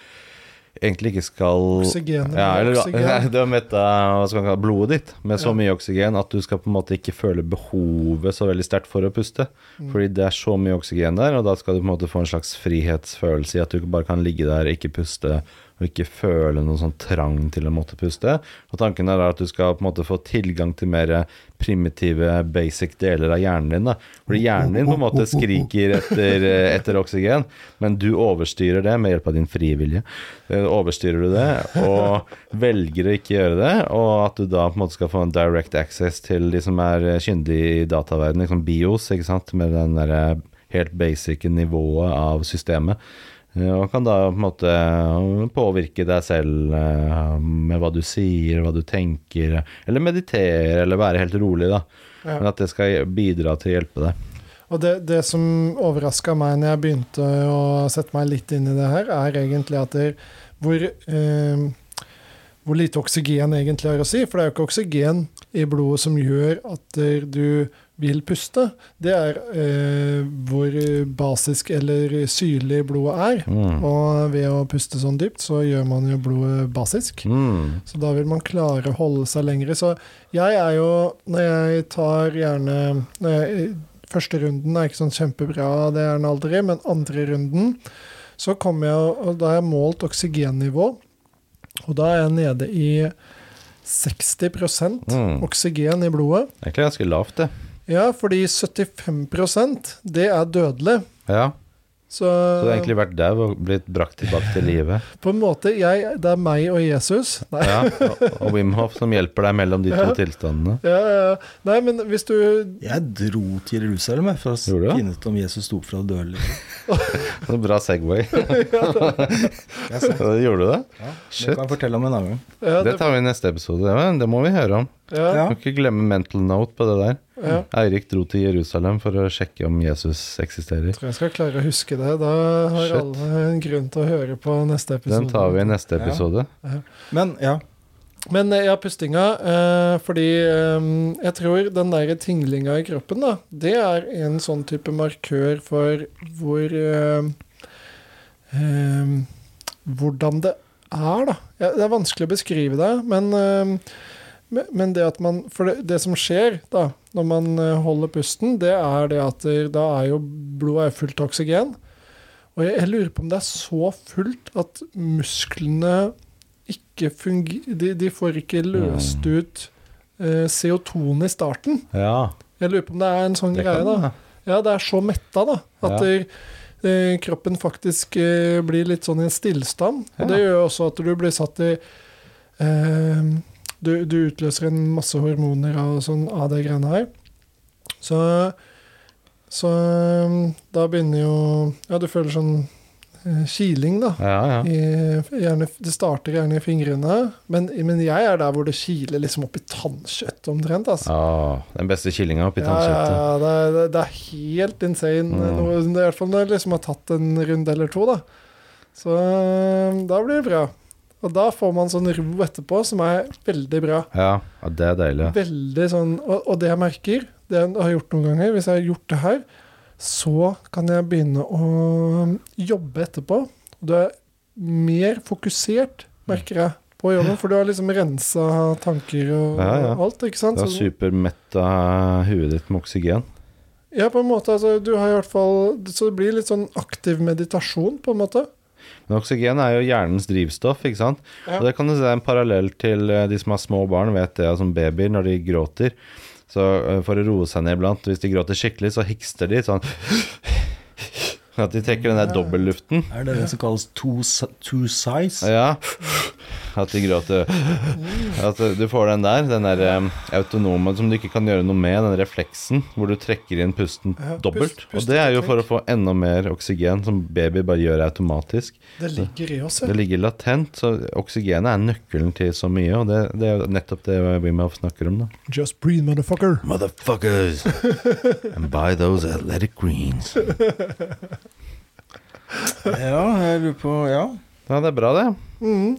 D: egentlig ikke skal
B: Oksygenet med
D: ja, eller, <laughs>
B: oksygen.
D: Nei, du har metta hva skal man kalle det, blodet ditt med så
B: Ja.
D: mye oksygen at du skal på en måte ikke føle behovet så veldig sterkt for å puste.
B: Mm.
D: Fordi det er så mye oksygen der, og da skal du på en måte få en slags frihetsfølelse i at du bare kan ligge der, ikke puste, og ikke føle noen sånn trang til å måtte puste. Og tanken er da at du skal på en måte få tilgang til mer primitive, basic deler av hjernen din. Da. Fordi hjernen din på en måte skriker etter, eh, etter oksygen, men du overstyrer det med hjelp av din frie vilje. Eh, Overstyrer du det, og velger å ikke gjøre det, og at du da på en måte skal få en direct access til de som er eh, kyndige i eh, dataverdenen, liksom BIOS, ikke sant, med den derre helt basic nivået av systemet. eh, Og kan da på en måte eh, påvirke deg selv eh, med hva du sier, hva du tenker, eller meditere, eller være helt rolig, da.
B: Ja.
D: Men at det skal bidra til å hjelpe deg.
B: Og det, det som overraska meg når jeg begynte å sette meg litt inn i det her, er egentlig at det, hvor, eh, hvor lite oksygen egentlig har å si. For det er jo ikke oksygen i blodet som gjør at eh, du vil puste. Det er eh, hvor basisk eller syrlig blodet er.
D: Mm.
B: Og ved å puste sånn dypt, så gjør man jo blodet basisk.
D: Mm.
B: Så da vil man klare å holde seg lengre. Så jeg er jo Når jeg tar gjerne når jeg, Første runden er ikke sånn kjempebra, det er den aldri, men andre runden så kommer jeg og Da har jeg målt oksygennivå, og da er jeg nede i 60
D: Mm.
B: oksygen i blodet.
D: Egentlig ganske lavt, det.
B: Ja, fordi 75 det er dødelig.
D: Ja.
B: Så,
D: Så du har egentlig vært dau og blitt brakt tilbake til livet.
B: på en måte jeg, Det er meg og Jesus. Nei.
D: Ja. Og, og Wim Hof som hjelper deg mellom de to tilstandene.
B: Ja, ja, ja. Nei, men hvis du
C: Jeg dro til Jerusalem jeg, for
D: Gjorde du
C: å
D: det?
C: finne ut om Jesus sto opp fra de døde. eller-
D: Så bra
B: <laughs>
D: Segway. Gjorde du det?
C: Ja,
D: <laughs> Shit.
C: det kan jeg fortelle om en annen gang.
B: ja,
D: Det
B: det,
D: tar vi i neste episode. Det, det må vi høre om.
B: ja,
D: Kan ikke glemme mental note på det der.
B: ja.
D: Eirik dro til Jerusalem for å sjekke om Jesus eksisterer.
B: tror jeg skal klare å huske det. Da har
D: Shit.
B: alle en grunn til å høre på neste episode.
D: Den tar vi i neste
C: Ja.
D: episode.
C: Men ja,
B: Men eh, ja, pustinga. Eh, fordi eh, jeg tror den der tinglinga i kroppen, da, det er en sånn type markør for hvor eh, eh, Hvordan det er, da. Ja, det er vanskelig å beskrive det, men eh, men- men det at man For det, det som skjer da, når man eh, holder pusten, det er det at det- da er jo blodet er fullt av oksygen. Og jeg, jeg lurer på om det er så fullt at musklene ikke fungerer de, de får ikke løst ut eh, CO2-en i starten.
D: Ja.
B: Jeg lurer på om det er en sånn
D: Det
B: greie,
D: kan
B: da. Ja, det er så metta, da,
D: Ja.
B: at det- eh, kroppen faktisk eh, blir litt sånn i en stillstand. Og det
D: Ja.
B: gjør jo også at du blir satt i eh, du, du utløser en masse hormoner av, sånn, av det greiene her. Så, så eh, da begynner jo Ja, du føler sånn eh, kiling, da.
D: Ja, ja.
B: I, gjerne, det starter gjerne i fingrene, men, men jeg er der hvor det kiler liksom opp i tannkjøttet omtrent. Altså.
D: Ah, den beste killinga oppi
B: Ja, ja,
D: tannkjøttet.
B: ja, det, er- det, det er helt insane.
D: Mm.
B: Noe, I hvert fall når jeg liksom har tatt en runde eller to, da. Så øh, da blir det bra. Og da får man sånn ro etterpå som er veldig bra.
D: Ja, ja, det er deilig.
B: Veldig sånn, og, og det jeg merker, det jeg har gjort noen ganger, hvis jeg har gjort det her, så kan jeg begynne å um, jobbe etterpå. Du er mer fokusert, merker jeg, på
D: <laughs>
B: jobben, for du har liksom rensa tanker og
D: Ja, ja.
B: alt, ikke sant?
D: Det er
B: Så-
D: supermetta huet ditt med oksygen.
B: ja, på en måte, altså, du har i hvert fall, så det blir litt sånn aktiv meditasjon, på en måte.
D: Men oksygen er jo hjernens drivstoff, ikke sant?
B: Ja.
D: Og det kan du se en parallell til eh, de som har små barn, vet det, som babyer når de gråter. Så eh, for å roe seg ned iblant, hvis de gråter skikkelig, så hikster de sånn <gasps> At de trekker den der dobbelluften.
C: er det det som kalles two, si- two size?
D: Ja. At de gråter At du får den der, den der eh, autonome som du ikke kan gjøre noe med, den refleksen hvor du trekker inn pusten
B: Ja, pust-
D: dobbelt. Og
B: pust-
D: det er jo for å få enda mer oksygen, som baby bare gjør automatisk.
B: Det ligger i oss, ja.
D: Det ligger latent, så oksygenet er nøkkelen til så mye, og det, det er jo nettopp det Wim Hof snakker om. da.
B: Just breathe, motherfucker. <laughs>
A: Motherfuckers! and buy those athletic greens.
C: Ja, jeg lurer på Ja.
D: Ja, Det er bra, det.
B: Mhm.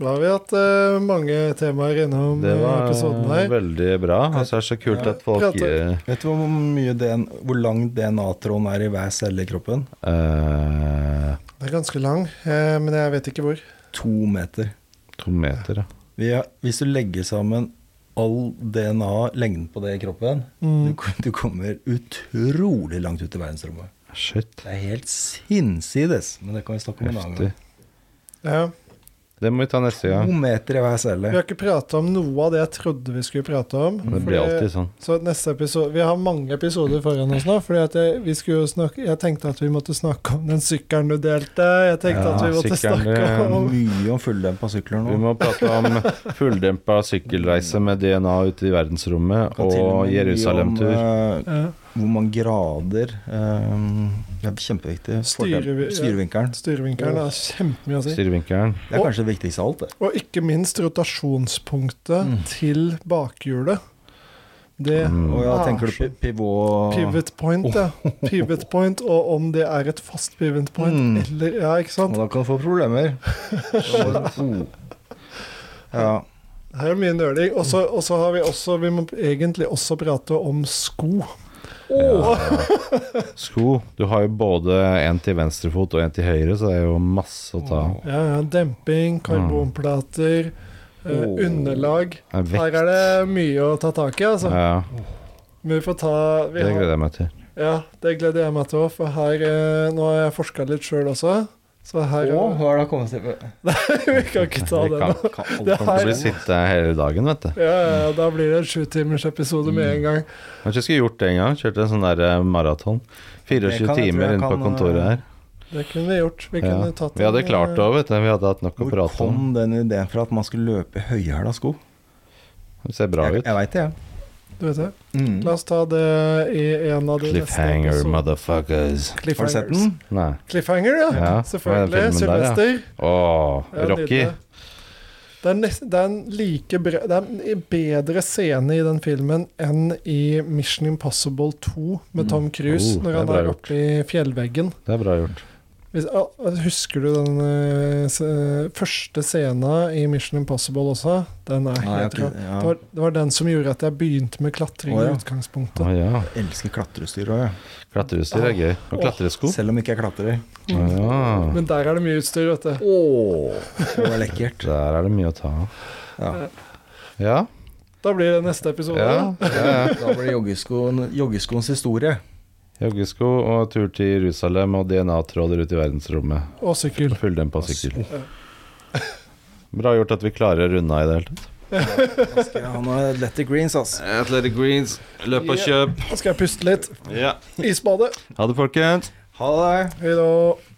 B: Da har vi hatt eh, mange temaer innom
D: Det
B: eh,
D: var
B: episoden her.
D: veldig bra. Og så er det så kult at folk
B: Prate.
D: eh,
C: Vet du hvor, mye DN hvor lang DNA-tråden er i hver celle i kroppen?
D: eh,
B: Det er ganske lang, eh, men jeg vet ikke hvor.
C: To meter.
D: To meter, ja.
C: Vi er, hvis du legger sammen all DNA, lengden på det i kroppen,
D: Mm.
C: du, kom- du kommer utrolig langt ut i verdensrommet.
D: Shit.
C: Det er helt sinnssydes, men det kan vi snakke om en annen
D: Heftig.
C: gang.
B: Ja.
D: Det må vi ta neste
C: To
D: gang.
C: meter i hver celle.
B: Vi har ikke prata om noe av det jeg trodde vi skulle prate om.
D: Det
B: fordi-
D: blir alltid sånn.
B: så neste episode, Vi har mange episoder foran oss nå. Fordi at jeg, vi skulle jo snakke, jeg tenkte at vi måtte snakke om den sykkelen du delte. Jeg tenkte
D: Ja,
B: at vi måtte
D: sykkelen,
B: snakke
D: det-
B: om
C: Mye om fulldempa sykler
D: Vi
C: nå.
D: må prate om fulldempa sykkelreise med DNA ute i verdensrommet
C: Kan til
D: og
C: med mye om,
D: Jerusalem-tur.
C: eh,
B: ja.
C: hvor mange grader eh, Det er kjempeviktig. Fordel-
B: Styrevi- ja.
C: Styrevinkelen.
B: Styrevinkelen er kjempemye å
C: eh,
B: si.
D: Styrevinkelen.
C: Det er kanskje det viktigste av alt, det.
B: Og ikke minst rotasjonspunktet
C: Mm.
B: til bakhjulet. Det
D: Mm. Oh.
C: Og ja,
B: Ah,
C: tenker du pi- pivot
B: Pivot point,
D: <laughs>
B: ja. Pivot point, og om det er et fast pivot point,
C: Mm.
B: eller Ja, ikke sant?
C: Og da kan du få <laughs> problemer. Oh. Ja.
B: Her er mye nøling. Og så og så har vi også Vi må egentlig også prate om sko.
D: Sko. Du har jo både en til venstre fot og en til høyre, så det er jo masse å ta.
B: Ja, ja,
D: Mm.
B: demping, karbonplater, eh,
C: Åh.
B: underlag.
D: Det er
B: Her
D: Oh. vekt.
B: er det mye å ta tak i, altså.
D: Ja,
B: Men vi får ta vi
D: det
B: har,
D: gleder jeg meg til.
B: Ja, det gleder jeg meg til òg, for her eh, Nå har jeg forska litt sjøl også, så her
C: Å, hva er det å komme seg
B: <laughs> Vi kan ikke ta
D: Vi
B: det
D: kan-
B: nå. Det
C: på?
D: Du
B: her,
D: blir sitte her hele dagen, vet du.
B: ja, ja, da blir det en sjutimersepisode med
D: Mm.
B: en gang.
D: Kanskje jeg skulle gjort det en gang. Kjørt en sånn der eh, maraton. 24
C: Det kan jeg tro
D: timer
C: jeg
D: inne på
C: kan, eh,
D: kontoret her.
B: Det kunne vi gjort. Vi
D: Ja.
B: kunne tatt
D: Vi hadde
B: en,
D: klart det
B: eh,
D: òg, vet du. Vi hadde hatt nok å
C: Hvor
D: prate om.
C: kom den ideen fra at man skulle løpe i høyhæla sko?
D: Det ser bra
C: Jeg,
D: ut.
C: jeg veit det, jeg.
B: Du vet det.
C: Mm.
B: La oss ta det i en av de
D: Cliffhanger,
B: episodene.
D: motherfuckers.
C: Har du
B: Cliffhangers.
C: sett den?
D: Nei.
B: Cliffhanger, ja.
D: Ja, hva er
B: Selvfølgelig.
D: den filmen der, ja?
B: Sylvester.
D: Åh,
B: Ja,
D: Rocky.
B: nydelig. Det er, nest, det er en like bra, det er en bedre scene i den filmen enn i Mission Impossible 2 med Tom
D: Oh,
B: Cruise
D: det
B: når
D: er
B: han
D: bra
B: er
D: gjort.
B: oppe i fjellveggen.
D: Det er bra gjort.
B: Hvis, ah, husker du den eh, se- første scenen i Mission Impossible også? Den er
C: Nei, jeg,
B: helt rå.
C: har ikke- ja.
B: Det var, det var den som gjorde at jeg begynte med klatring
C: Å,
B: i
C: ja.
D: Å
B: utgangspunktet.
D: ja.
C: jeg elsker klatreutstyr òg, jeg.
D: Klatreutstyr er gøy. Og klatresko.
C: Selv om ikke jeg klatrer.
D: Å ja.
B: Men der er det mye utstyr, vet du.
C: Det var lekkert.
D: Der er det mye å ta av.
C: Ja.
D: Ja.
B: Da blir det neste episode.
D: ja.
C: Da blir det joggeskoen, joggeskoens historie.
D: Joggesko og tur til Jerusalem og DNA-tråder ut i verdensrommet.
B: Og sykkel.
D: Full dem på sykkel. Bra gjort at vi klarer å runde av i det hele tatt.
C: Skal jeg ha noe Letty Greens, ass.
D: Athletic Greens, løp og kjøp.
B: Nå skal jeg puste litt.
D: Ja.
B: Isbade.
D: Ha det, folkens.
C: Ha det.
B: Hei da.